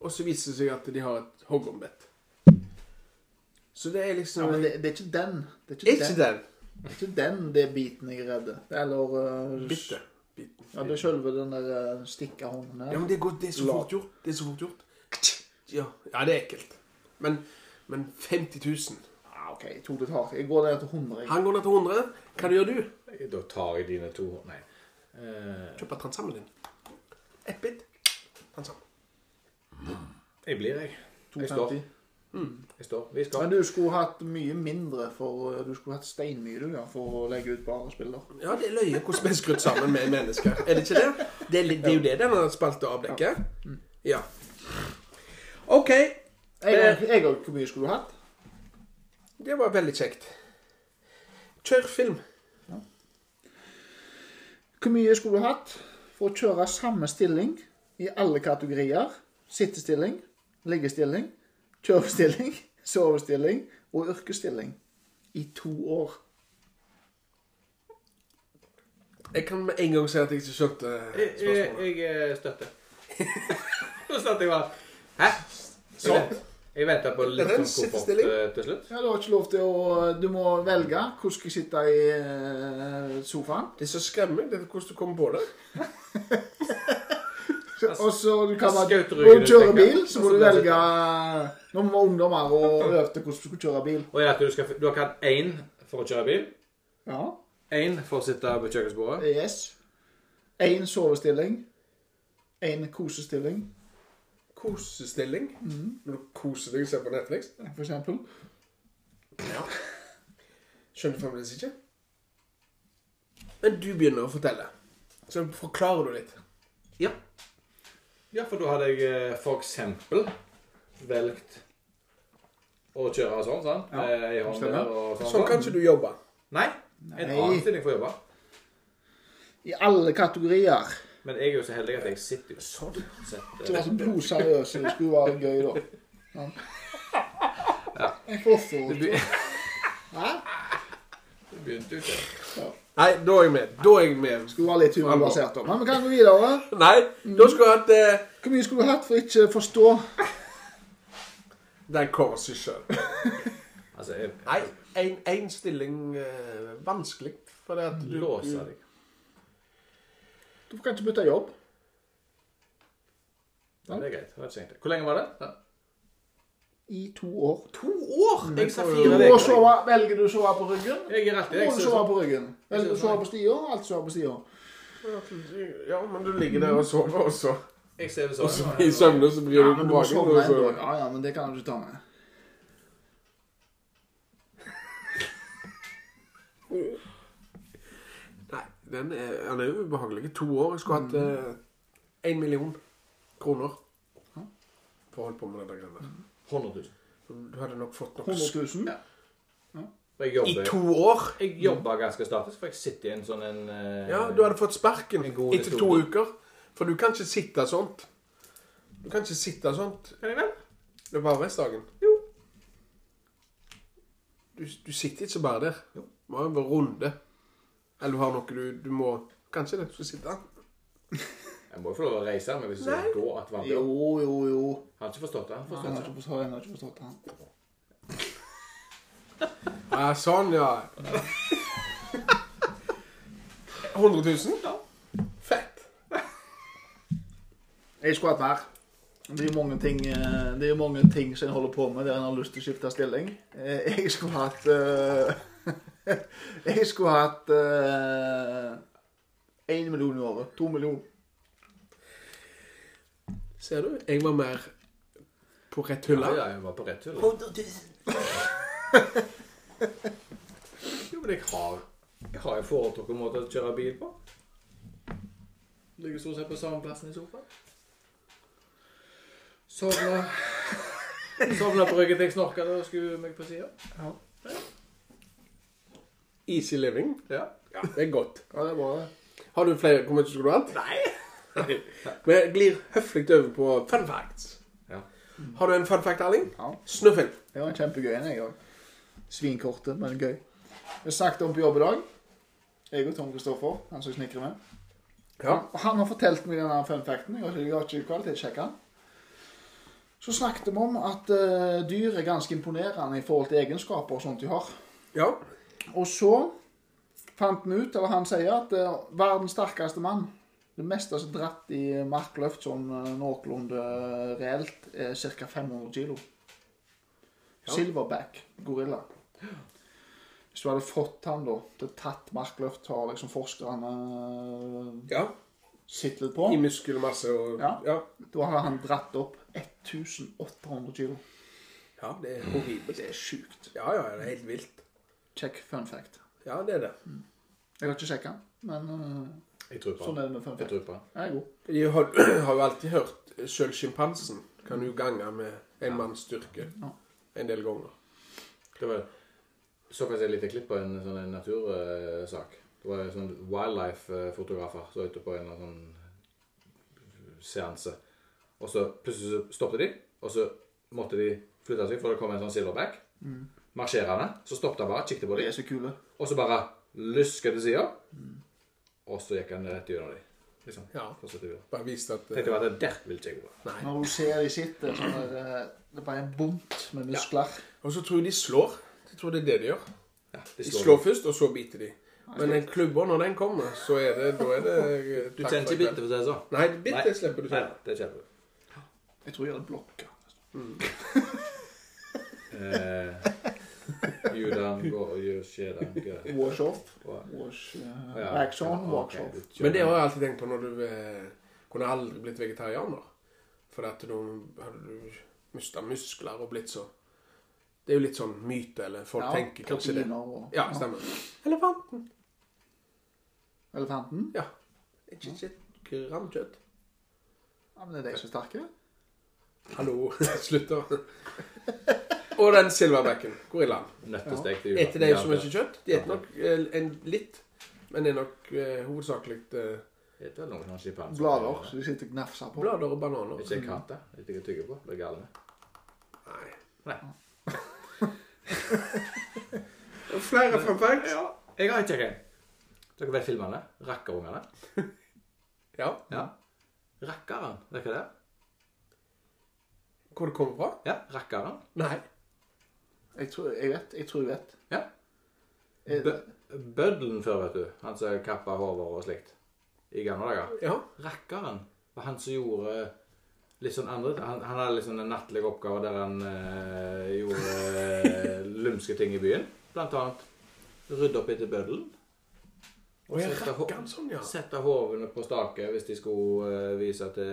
S1: og så viser det seg at de har et hoggombett. Så det er
S2: Ja,
S1: liksom
S2: men det, det er ikke den. Det er ikke,
S1: Ikke
S2: den.
S1: den.
S2: Det er ikke den det er biten jeg er redd. Eller eh,
S1: Bitte. Biten.
S2: Ja, det er selve den der eh, stikka hånden her.
S1: Ja, men det er, godt, det er så
S2: La-
S1: fort gjort. Det er så fort gjort. Ja, ja det er ekkelt. Men, men 50 000
S2: Ah, OK, jeg tok det hardt. Jeg går ned til 100. Jeg.
S1: Han går ned til 100. Hva gjør du?
S3: Da tar jeg dine to Nei. Eh,
S1: Kjøper transammen din. Ett bit. Transam.
S3: jeg blir, jeg. Jeg står.
S2: 250.
S3: Jeg står. Vi skal.
S2: Men du skulle hatt mye mindre for eh, Du skulle hatt steinmye, du, ja, for å legge ut på andre spiller.
S1: Ja, det er løye hvordan vi er skrudd sammen med mennesker. Er det ikke det? Det er, litt- det er jo det denne spalta avdekker. Ja. OK.
S2: Jeg jeg- jeg har Hvor mye skulle du hatt?
S1: Det var veldig kjekt. Kjør film.
S2: Hvor mye skulle du hatt for å kjøre samme stilling i alle kategorier? Sittestilling, liggestilling, kjørestilling, sovestilling og yrkesstilling i to år.
S1: Jeg kan med en gang si at jeg ikke skjønte eh,
S3: Jeg,
S1: spørsmålet.
S3: jeg, Eh, jeg eh, støtter. Nå satt jeg bare Hæ? Jeg
S1: Sånn.
S3: vent- Jeg venta på litt
S1: Dette er en
S3: sånn komfort
S1: sittestilling.
S3: eh, til slutt.
S2: Ja, Du har ikke lov til å Du må velge. Hvor skal jeg sitte i eh, sofaen?
S1: Det er så skremmende det er hvordan du kommer på det.
S2: Og så du kan bare
S3: Skaut ryggen
S2: Når du
S3: ut,
S2: kjører
S3: tenker jeg.
S2: bil, så må
S3: Og så
S2: du
S3: bare
S2: velge Nå må ungdommer og øvde hvordan du skulle kjøre bil.
S3: Og er det at du, skal, du har hatt én for å kjøre bil,
S2: Ja.
S3: én for å sitte på kjøkkenbordet,
S2: Yes. Én sovestilling. Én kosestilling,
S1: Kosestilling. Når du koser deg og ser på Netflix.
S2: for eksempel.
S1: Skjønner fremdeles ikke. Men du begynner å fortelle. Så forklarer du litt. Ja.
S3: Ja, for da hadde jeg eh, for eksempel valgt å kjøre og sånn, sant?
S2: Ja,
S3: Eh, I hånden
S2: stemmer.
S3: der og sånn.
S1: Sånn kan ikke du jobbe.
S3: Nei. En
S2: Nei.
S3: annen stilling for å jobbe.
S2: I alle kategorier.
S3: Men jeg er jo så heldig at jeg sitter jo
S1: Sånn.
S3: sett
S2: Du var
S3: eh,
S2: så blodseriøs, så det skulle være gøy, da. Ja. Hvorfor? Hæ?
S3: Det begynte jo ikke.
S1: Nei, da er jeg med. Da er jeg med.
S2: Skulle være litt humorbasert, da. Men vi kan gå videre.
S1: Nei, da skulle jeg hatt eh,
S2: Hvor mye skulle du hatt for ikke å forstå?
S1: Den kårer seg sjøl.
S3: Altså, jeg,
S1: Nei, én stilling eh, vanskelig. For det at du
S3: låser deg.
S2: Du kan ikke bytte jobb.
S3: Ja, det er greit. Det var ikke så enkelt. Hvor lenge var det? Ja.
S2: I to år.
S1: To år! Jeg sa
S2: Du
S1: fire
S2: må
S1: uker.
S2: sove, velger du å sove på ryggen?
S3: Jeg er alltid
S2: Må du sove
S3: jeg,
S2: på ryggen? Velger du å sove på stia? Alt sover på stia.
S1: Ja, men du ligger der og sover, og så
S3: jeg ser det
S1: Og så
S3: sånn.
S1: i søvne så blir du på
S2: må
S1: magen.
S2: sove
S1: Og
S2: en
S1: så
S2: dag. Ja, ja, men det kan du ikke ta med.
S1: Nei, den er, den er ubehagelig. To år. Jeg skulle hatt
S3: Mm.
S1: eh, én million kroner for å holde på med denne greia. der.
S3: 100 000.
S1: Du hadde nok fått nok
S2: 100 000?
S3: For jeg
S1: I
S3: jobber,
S1: to år?
S3: jeg jobber ganske statisk, for jeg sitter i en sånn en eh,
S1: Ja, du hadde fått sparken
S3: En god
S1: etter to
S3: historie.
S1: uker. For du kan ikke sitte sånt. Du kan ikke sitte sånt
S3: Kan jeg vel?
S1: Det var arbeidsdagen.
S3: Jo.
S1: Du, du sitter ikke bare der.
S3: Jo.
S1: Du må ha en runde. Eller du har noe du, du må Kanskje det. Så sitte
S3: Jeg må jo få lov å reise, men hvis du
S1: Nei.
S3: går at varmt
S2: Jo, jo, jo.
S3: Han har ikke forstått det. Han forstår
S2: Han har
S3: ikke.
S2: ikke forstått, han har ikke forstått han.
S1: Ja, sånn, ja. 100 000? Fett.
S2: Jeg skulle hatt mer. Det er jo mange ting, eh, det er jo mange ting som en holder på med der en har lyst til å skifte stilling. Eh, Jeg skulle hatt eh, Jeg skulle hatt én million i året. To millioner.
S1: Ser du? Jeg var mer på rett
S3: Ja,
S1: hylle.
S3: ja, jeg var på rett hull. Jo, men jeg har Jeg har jo foretrukket måte å kjøre bil på. Ligger
S1: eh,
S3: stort sett på samme plassen i sofaen. Sovner Sovna på ryggen til jeg snorka og skulle meg på sida.
S1: Easy living.
S3: Ja.
S1: Ja, det er godt.
S2: Ja, det er bra, det.
S1: Har du flere kommentarer som du skulle hatt?
S3: Nei.
S1: Vi glir høflig over på fun facts.
S3: Ja.
S1: Har du en fun fact, Erling?
S2: Ja.
S1: Snøfilm.
S2: Det var en kjempegøy en, jeg òg. Svinkortet, men gøy. Vi snakket om på jobb i dag. Jeg og Tom Kristoffer, han som jeg snekrer med.
S1: Ja.
S2: Og han har fortalt meg denne fun facten. Jeg har ikke, jeg har ikke kvalitetssjekka den. Så snakket vi om at eh, dyr er ganske imponerende i forhold til egenskaper og sånt de har.
S1: Ja.
S2: Og så fant vi ut, eller han sier, at eh, verdens sterkeste mann Det meste som er dratt i markløft sånn eh, noenlunde eh, reelt, er ca. 500 kilo. Silverback gorilla. Hvis du hadde fått han da, til å tatt markløft, har liksom forskerne eh,
S1: ja.
S2: sett litt på
S1: I muskelmasse og
S2: Ja.
S1: ja.
S2: Da hadde han dratt opp 1800 kilo.
S1: Ja, det er horribelt.
S2: Det er sjukt.
S1: Ja, ja, det er helt vilt.
S2: Check fun fact.
S1: Ja, det er det.
S2: Jeg har ikke sjekka, men eh,
S3: Jeg tror på
S2: sånn
S3: han.
S2: er det med fun
S3: Jeg
S2: fact.
S3: tror på han.
S2: Jeg er god.
S1: Jeg har, har jo alltid hørt sjøl sjimpansen kan jo gange med en manns styrke
S2: Ja.
S1: en del ganger.
S3: Det var så faktisk et lite klipp på en sånn en natursak. Det var en sånn wildlife-fotografer som var ute på en eller annen sånn seanse. Og så plutselig så stoppet de, og så måtte de flytte seg, for det kom en sånn silverback marsjerende. Så stoppet han bare, kikket på
S2: De
S3: dem,
S2: er så kule.
S3: og så bare lusket til sida. Og så gikk han rett gjennom dem. Liksom.
S1: Ja.
S3: Fortsatte videre.
S1: Bare vist at eh,
S3: Tenkte bare at der vil ikke jeg gå.
S2: Når du ser de sitter, så er det, det er bare en bunt med muskler.
S1: Og så tror jeg de slår. Jeg tror det er det de gjør.
S3: Ja, de
S1: De
S3: slår
S1: slår først, og så biter de. Men den klubba, når den kommer, så er det Da er det eh,
S3: Du trenger ikke bite, for å si det sånn.
S1: Nei, bitte slipper du
S3: Nei,
S1: til.
S3: det kjenner du.
S2: Jeg tror jeg hadde blokka.
S3: Eh, Judan går og gjør skjedan gøy.
S2: Wash off.
S3: Og-
S2: Wash eh,
S3: Ja.
S2: Wax on,
S3: Ja,
S2: wax
S3: ok,
S2: off.
S3: du kjører.
S1: Men det har jeg alltid tenkt på når du eh, kunne aldri blitt vegetarianer. For at da hadde du mista muskler og blitt så Det er jo litt sånn myte, eller folk
S2: Ja,
S1: tenker kanskje det.
S2: proteiner og-
S1: Ja, stemmer. Elefanten.
S2: Elefanten.
S1: Ja. Ikke, ikke et gram kjøtt.
S2: Ja, men det er de som er sterke.
S1: Hallo. Slutt, da. Og den silverbacken. Gorillaen.
S3: Nøttestek til
S1: Etter
S3: julaften.
S1: de som ikke kjøtt. De spiser nok eh, en litt, men det er nok eh, hovedsakelig eh,
S3: Etter vel noen
S1: Altså,
S3: sjimpanser.
S2: Blader som de sitter og gnafser på.
S1: blader og bananer.
S3: sånn, eh, Ikke en katt, da. Litt jeg tygger på. Blir gale.
S1: Nei.
S3: Nei.
S1: Flere fun facts?
S3: Ja, jeg har ikke en. Dere vet filmene? Rakkerungene?
S1: Ja.
S3: Ja. Rakkeren, vet dere det?
S1: Hvor det kommer fra?
S3: Ja, rakkeren.
S1: Nei.
S2: Jeg tror jeg vet. Jeg tror jeg vet.
S3: Ja.
S2: Er
S3: Bø
S2: det-
S3: Bøddelen før, vet du. Han som kappa hoder og slikt. I gamle dager.
S1: Ja.
S3: Rakkeren var han som gjorde litt sånn andre Han, han hadde liksom en nattlig oppgave der han eh, gjorde eh, lumske ting i byen. Blant annet rydde opp etter bøddelen.
S1: Og jeg
S3: Sette ho-
S1: rakker den sånn, ja.
S3: Sette hovene på staket hvis de skulle eh, vise til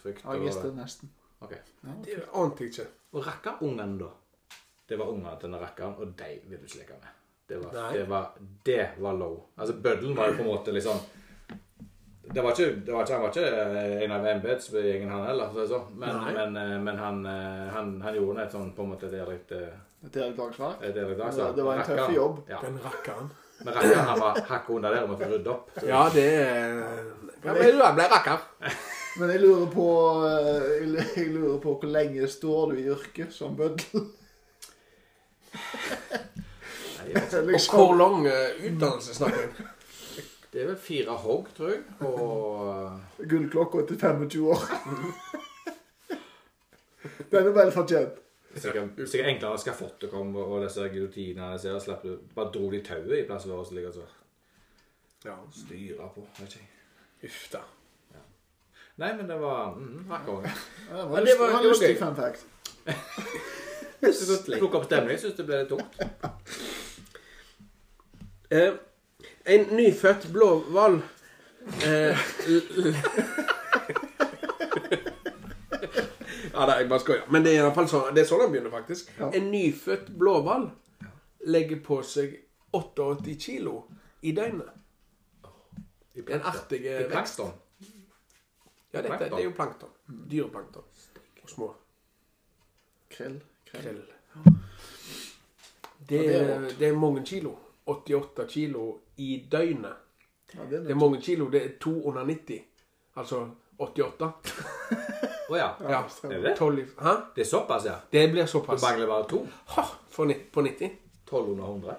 S3: frykt.
S2: Ja, jeg visste det nesten.
S3: og, Ok.
S1: Det ante jeg ikke.
S3: og rakkerungene, da. Det var ungene til denne rakkeren, og de vil du ikke leke med. Det var,
S1: Nei.
S3: det var, det var low. Altså, bøddelen var jo på en måte liksom det var ikke, det var ikke, Han var ikke en av embetsgjengen, han heller. for å si det sånn. Men,
S1: Nei.
S3: men, eh, men han, eh, han, han gjorde det et sånn på en måte det er litt, eh,
S2: Et ærlig dagsverk.
S3: det er litt dags,
S2: Ja,
S3: da.
S2: det var en tøff
S3: Rakkeren-
S2: jobb.
S3: Ja.
S1: Den rakkeren.
S3: Men rakkeren han var hakket under der og måtte rydde opp. Så
S1: Ja, det er Ja, men du ble rakker.
S2: Men jeg lurer på eh, jeg lu- Jeg lurer på hvor lenge står du i yrket som bøddel?
S3: nei, jeg vet ikke.
S1: Og
S2: liksom?
S1: hvor lang eh, utdannelse snakker vi?
S3: Det er vel fire hogg, tror jeg. Og
S2: Gullklokka etter 25 år. Den er vel fortjent.
S3: Sikkert, sikkert enklere skafottet kom, og og disse giljotinene jeg ser, slapp du Bare dro de tauet i plassen vår og ligger og
S1: Ja.
S3: styrer på. Vet ikke. jeg.
S1: Uff da.
S3: Nei, men det var mm, Rakkerungen.
S2: Ja, det var,
S1: Ja,
S2: lyst,
S1: det var-
S2: det var
S1: det var
S2: lystig
S1: gøy.
S2: fun fact.
S3: Plukk opp stemning. Syns det ble litt tungt.
S1: Eh, en nyfødt blåhval eh, l- l- Ja, det er jeg bare skoja. Men det er i hvert fall sånn det er sånn han begynner, faktisk.
S2: Ja.
S1: En nyfødt blåhval legger på seg 88 kilo i døgnet.
S3: I
S1: En artig eh,
S3: I
S1: vekst.
S3: plankton.
S1: Ja, dette,
S3: plankton.
S2: Mm.
S1: det er jo plankton. Dyreplankton. Og små.
S2: Krell. krell.
S1: Krell. Det,
S2: det er
S1: er- det er mange kilo. 88 kilo i døgnet.
S2: Ja, det er
S1: Det er
S2: noe.
S1: mange kilo. Det er to under 90. Altså 88.
S3: Å ja.
S1: Ja.
S3: Er det det?
S1: 12 i- Hæ?
S3: Det er såpass, ja.
S1: Det blir
S3: Du
S1: såpass.
S3: mangler bare to.
S1: Ha, for ni- på 90.
S3: 1200.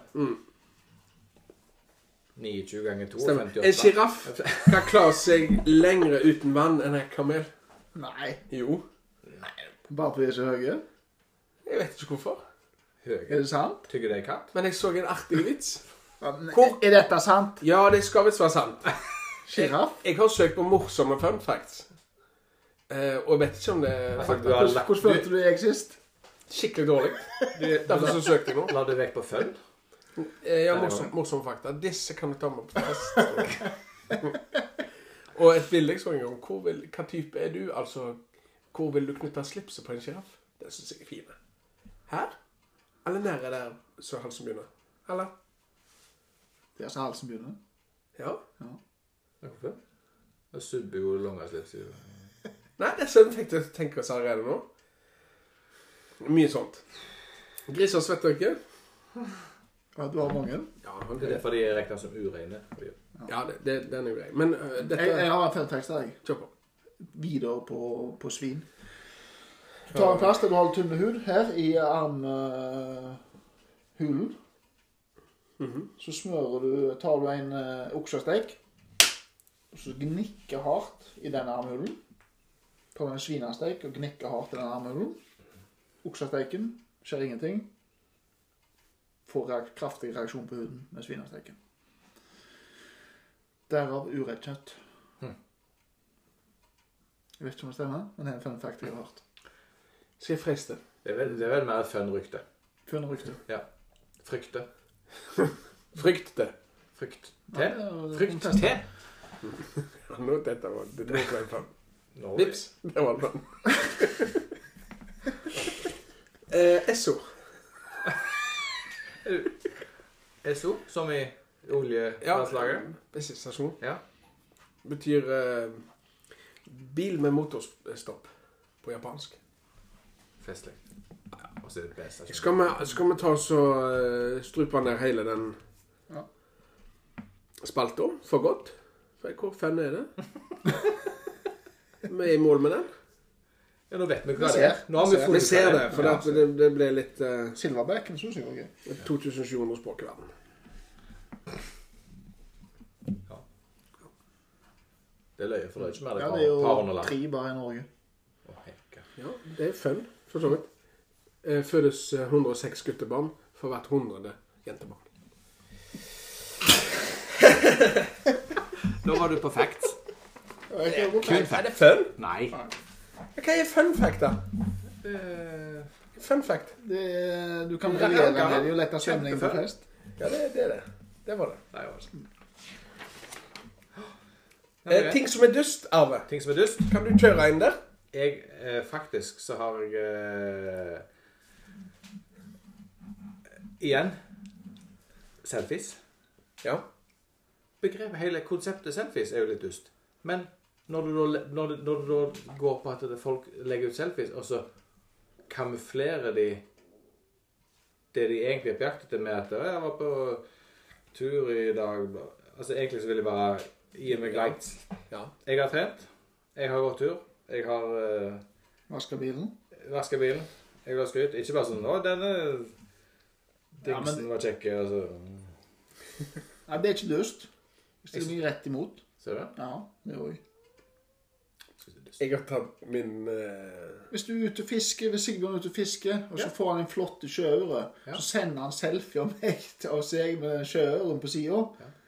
S3: 29 ganger 2
S1: Mm. Stemmer. En
S3: 58.
S1: sjiraff kan klare seg lengre uten vann enn en kamel.
S2: Nei.
S1: Jo.
S2: Bare fordi de er så høye?
S1: Jeg vet ikke hvorfor.
S3: Høye.
S2: Er det sant?
S3: Tygger det katt?
S1: Men jeg så en artig vits.
S2: Ja, men
S1: Hvor-
S2: Er dette sant?
S1: Ja, det skal visst være sant.
S2: Sjiraff?
S1: Jeg har søkt på morsomme fun facts. Eh, og jeg vet ikke om det er
S3: Altså,
S1: fakt-
S3: du har
S2: Hvordan
S3: lagt
S2: hvordan følte du deg sist?
S1: skikkelig dårlig.
S3: du, du,
S1: Derfor så søkte jeg nå.
S3: La du vekk på fun?
S1: Eh, ja,
S3: det
S1: morsom, morsomme fakta. Disse kan du ta med på test. og et bilde jeg så en gang. Hvor vil, hva type er du? Altså, hvor vil du knytte slipset på en sjiraff? Den syns jeg er fin. Her? Eller nære der så halsen begynner? Eller?
S2: Det er så halsen begynner.
S1: Ja.
S3: Hvorfor? Da subber jo lange slipser.
S1: Nei, det er sånn tenkte tenker oss allerede nå. Mye sånt. Griser svetter ikke.
S2: Ja, du har mange.
S1: Ja,
S3: Det er derfor de er regnet som ureine.
S1: ja det, det, den er grei. Men øh, dette
S2: Jeg, jeg har en femtekst der, jeg.
S1: Kjør på.
S2: Videre på, på svin. Du tar en plass der du har tynne hud, her i armhulen. Så smører du Tar du en uh, oksestek, og så gnikker hardt i den armhulen. Tar du en svinesteik og gnikker hardt i den armhulen. Oksesteiken skjer ingenting. Får reak kraftig reaksjon på huden med svinesteiken. Derav urett kjøtt. Jeg vet ikke om det stemmer, men det er en fun fact jeg har hørt.
S1: Skal jeg friste?
S3: Det er vel, det er vel mer et fun-rykte.
S2: Funnet rykte.
S3: Frykte.
S1: Frykt det.
S3: Frykt. Te?
S2: Frykt.
S3: Frykt. Te?
S1: Ja, nå dette var det nå ble jeg fram.
S3: Nå-
S1: Vips. Det var den. eh, Esso.
S3: SO, som i oljelandslaget.
S1: bensinstasjon.
S3: Ja.
S1: Betyr eh, bil med motorstopp på japansk.
S3: Festlig. Og så er det best. altså.
S1: Skal vi, skal vi ta oss og eh, strupe ned hele den
S2: Ja.
S1: spalta for godt? For hvor fan er det? vi er i mål med den.
S3: Ja, nå vet vi hva
S2: Vi
S3: det er.
S2: ser.
S3: Nå har vi
S2: Vi ser.
S1: Vi
S3: funnet
S1: ser
S3: ut av
S1: det, for
S3: Ja.
S1: det, det, det ble litt eh,
S2: Silverbacken syns jeg var gøy.
S1: 2700 språk i verden.
S3: Det er løye, for det er ikke mer
S2: Ja,
S3: det
S2: det er
S3: er par
S2: jo
S3: hundre land.
S2: tre bare i Norge.
S3: Å, hekke.
S1: Ja, det er fun, for så vidt. Eh, Fødes eh, 106 guttebarn for hvert hundrede jentebarn.
S3: Nå var du på facts.
S2: Kun
S1: Er det fun?
S3: Nei.
S1: Hva er fun fact, da? Eh. Fun fact.
S2: det, du kan briljere med det. Det er jo lett av svømning for flest.
S1: Ja, det, det er det. Det var det.
S3: Nei, altså.
S1: Eh, ting som er dust, Arve.
S3: Ting som er dust.
S1: Kan du kjøre inn der?
S3: Jeg, eh, faktisk, så har jeg eh, Igjen selfies.
S1: Ja.
S3: Begrepet, hele konseptet selfies er jo litt dust. Men når du da, le- når du, når du da går på at det folk legger ut selfies, og så kamuflerer de det de egentlig er på jakt etter, med at «Å, 'Jeg var på tur i dag' bla». Altså Egentlig så vil de bare gi meg likes.
S1: Ja.
S3: Jeg har trent. Jeg har gått tur. Jeg har eh,
S2: Vasker bilen.
S3: Vaske bilen. Jeg vil ha skryt. Ikke bare sånn 'Å, denne
S2: Ja, men-
S3: dingsen var altså. kjekk', og så
S2: Nei, det er ikke lyst. Jeg stiller meg rett imot.
S3: Ser du det?
S2: Ja, det gjør jeg.
S1: Jeg har tatt min eh,
S2: Hvis du er ute og fisker, hvis Sigbjørn er ute og fisker, og så får han en flott sjøøre,
S3: Ja.
S2: så sender han selfie av meg til- av seg med sjøøren på sida,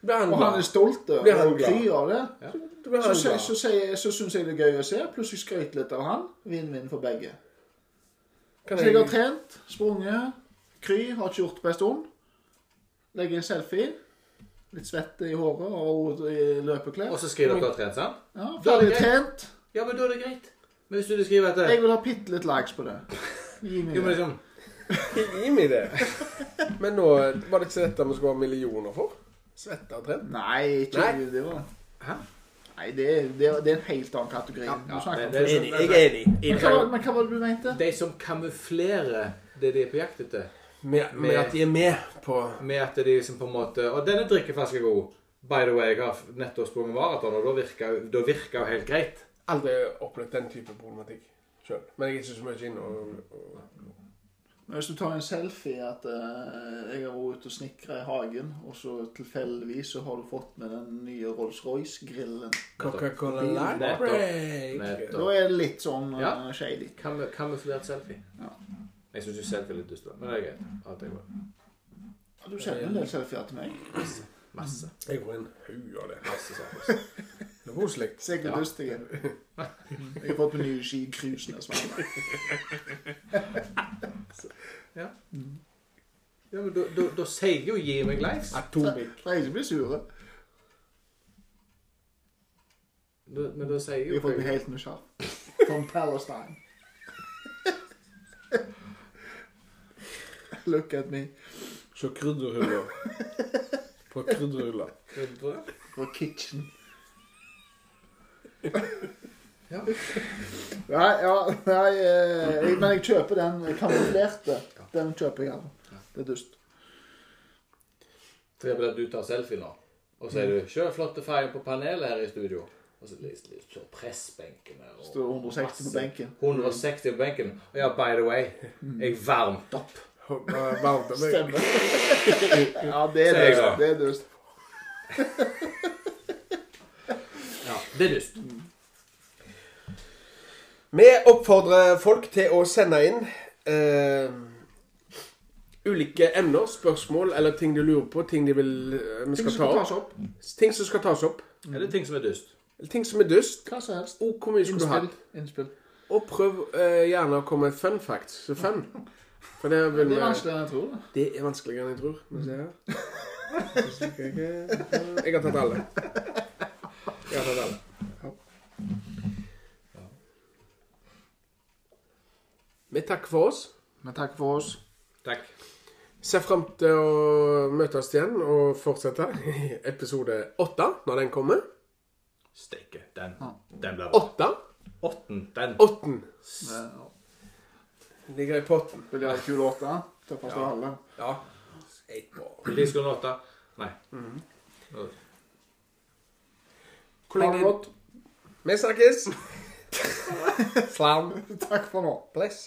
S1: Blir han
S2: og han er
S1: glad?
S2: stolt
S1: Blir han
S2: over og
S1: glad?
S2: kry av det.
S1: Blir
S2: Så,
S1: han
S2: så,
S1: glad?
S2: så, sier- så syns jeg det er gøy å se. Plutselig skrøt litt av han. Vinn-vinn for begge.
S1: Kan
S2: Så jeg har
S1: jeg,
S2: trent, sprunget, kry, har ikke gjort på en stund. Legger en selfie. Litt svette i håret og i
S3: Og
S2: løpeklær.
S3: så skriver dere trent, sant?
S2: Ja,
S3: Da er det
S2: ferdig
S3: greit.
S2: trent.
S3: Ja, men da er det greit. Men hvis du skriver etter
S2: Jeg vil ha bitte litt likes på det. Gi meg
S3: Jo, men
S2: det.
S3: liksom
S1: gi meg det. Men nå eh, var det ikke dette vi skulle ha millioner for? Svette og trent.
S2: Nei, ikke
S1: Nei.
S2: det var
S3: Hæ?
S2: Nei, det er, det er, det er en helt annen kategori. Du snakker
S3: men
S2: om
S3: det er
S2: fugler.
S3: sånn-
S1: Enig, jeg er enig.
S2: Men hva, var- men hva var det du mente?
S3: De som kamuflerer det de er på jakt etter,
S1: Med, med at de er med på
S3: med at de liksom på en måte Og denne drikkeflasken er god. By the way, jeg har nettopp sprunget maraton, og da virka jo- da virka jo helt greit.
S1: Aldri opplevd den type problematikk sjøl. Men jeg er ikke så mye inne og, og
S2: Men Hvis du tar en selfie at eh, jeg har vært ute og snekra i hagen, og så tilfeldigvis så har du fått med den nye Rolls-Royce-grillen.
S1: Coca-Cola
S2: Nettopp.
S1: Light Break.
S3: Nettopp.
S2: Da er det litt sånn eh,
S3: Ja.
S2: shady.
S3: Kamu- Kamuflert selfie.
S2: Ja.
S3: Jeg syns jo selfie er litt dust, da, men det er greit. At jeg bare-
S2: Ja, Du sender en del selfier til meg.
S3: Masse.
S1: Jeg får en haug av det. masse sånn. Det er koselig.
S2: Sikkert
S3: Ja.
S2: dustige. Jeg har fått med nye ski cruisene som er med.
S3: Ja, men da, da, da sier jo gi meg likes.
S1: Atomic.
S2: Trenger ikke bli sure.
S3: Da, men da sier
S2: Jeg
S3: jo
S2: har fått med helt med sjarm. From Palestine. Look at me.
S1: Se krydderhuller. På krydderhuller.
S2: Fra kitchen.
S3: Ja.
S2: Nei, ja, nei eh, jeg, men jeg kjøper den kamuflerte. Den kjøper jeg. altså. Det er dust.
S3: For eksempel at du tar selfie nå, og så er du 'Kjør flotte feil på panelet her i studio'. Og så litt, litt så pressbenken her. og-
S2: Står 160 på benken.
S3: 160 på benken. Og ja, by the way, jeg varmt opp.
S1: Varmt av meg.
S2: Stemmer. Ja, det er
S3: Ser jeg
S2: dust.
S3: da.
S2: Det er dust.
S3: Ja, det er dust.
S1: Vi oppfordrer folk til å sende inn eh, ulike emner, spørsmål eller ting de lurer på. Ting de vil eh, vi
S2: Ting
S1: skal
S2: som
S1: ta opp.
S2: skal tas opp.
S1: Ting som skal tas opp.
S3: Er det ting som er dust?
S1: Eller ting som er dust.
S2: Hva som helst.
S1: Og hvor mye skulle du
S2: Innspill.
S1: hatt.
S2: Innspill.
S1: Og prøv eh, gjerne å komme med fun facts. Så fun. For det, vil
S2: Det
S1: vi-
S2: er vanskeligere enn jeg tror. da.
S1: det er vanskeligere enn jeg tror. Må vi se her. Jeg har tatt alle. Jeg har tatt alle. Vi takker for oss.
S2: Men takk for oss.
S3: Takk.
S1: Ser frem til å møtes igjen og fortsette i episode åtte, når den kommer.
S3: Steike. Den. Den ble bra.
S1: Åtte?
S3: Åtten. Den.
S1: Åtten.
S2: Eh,
S1: Ligger i potten.
S2: Vil dere ha kul låt, da? Til første halve.
S1: Ja. Eight ball.
S3: Disko åtta. Nei.
S1: Hvor
S2: Ha det
S1: lenge
S2: godt.
S1: Vi snakkes! Slam.
S2: Takk for nå.
S1: Bless.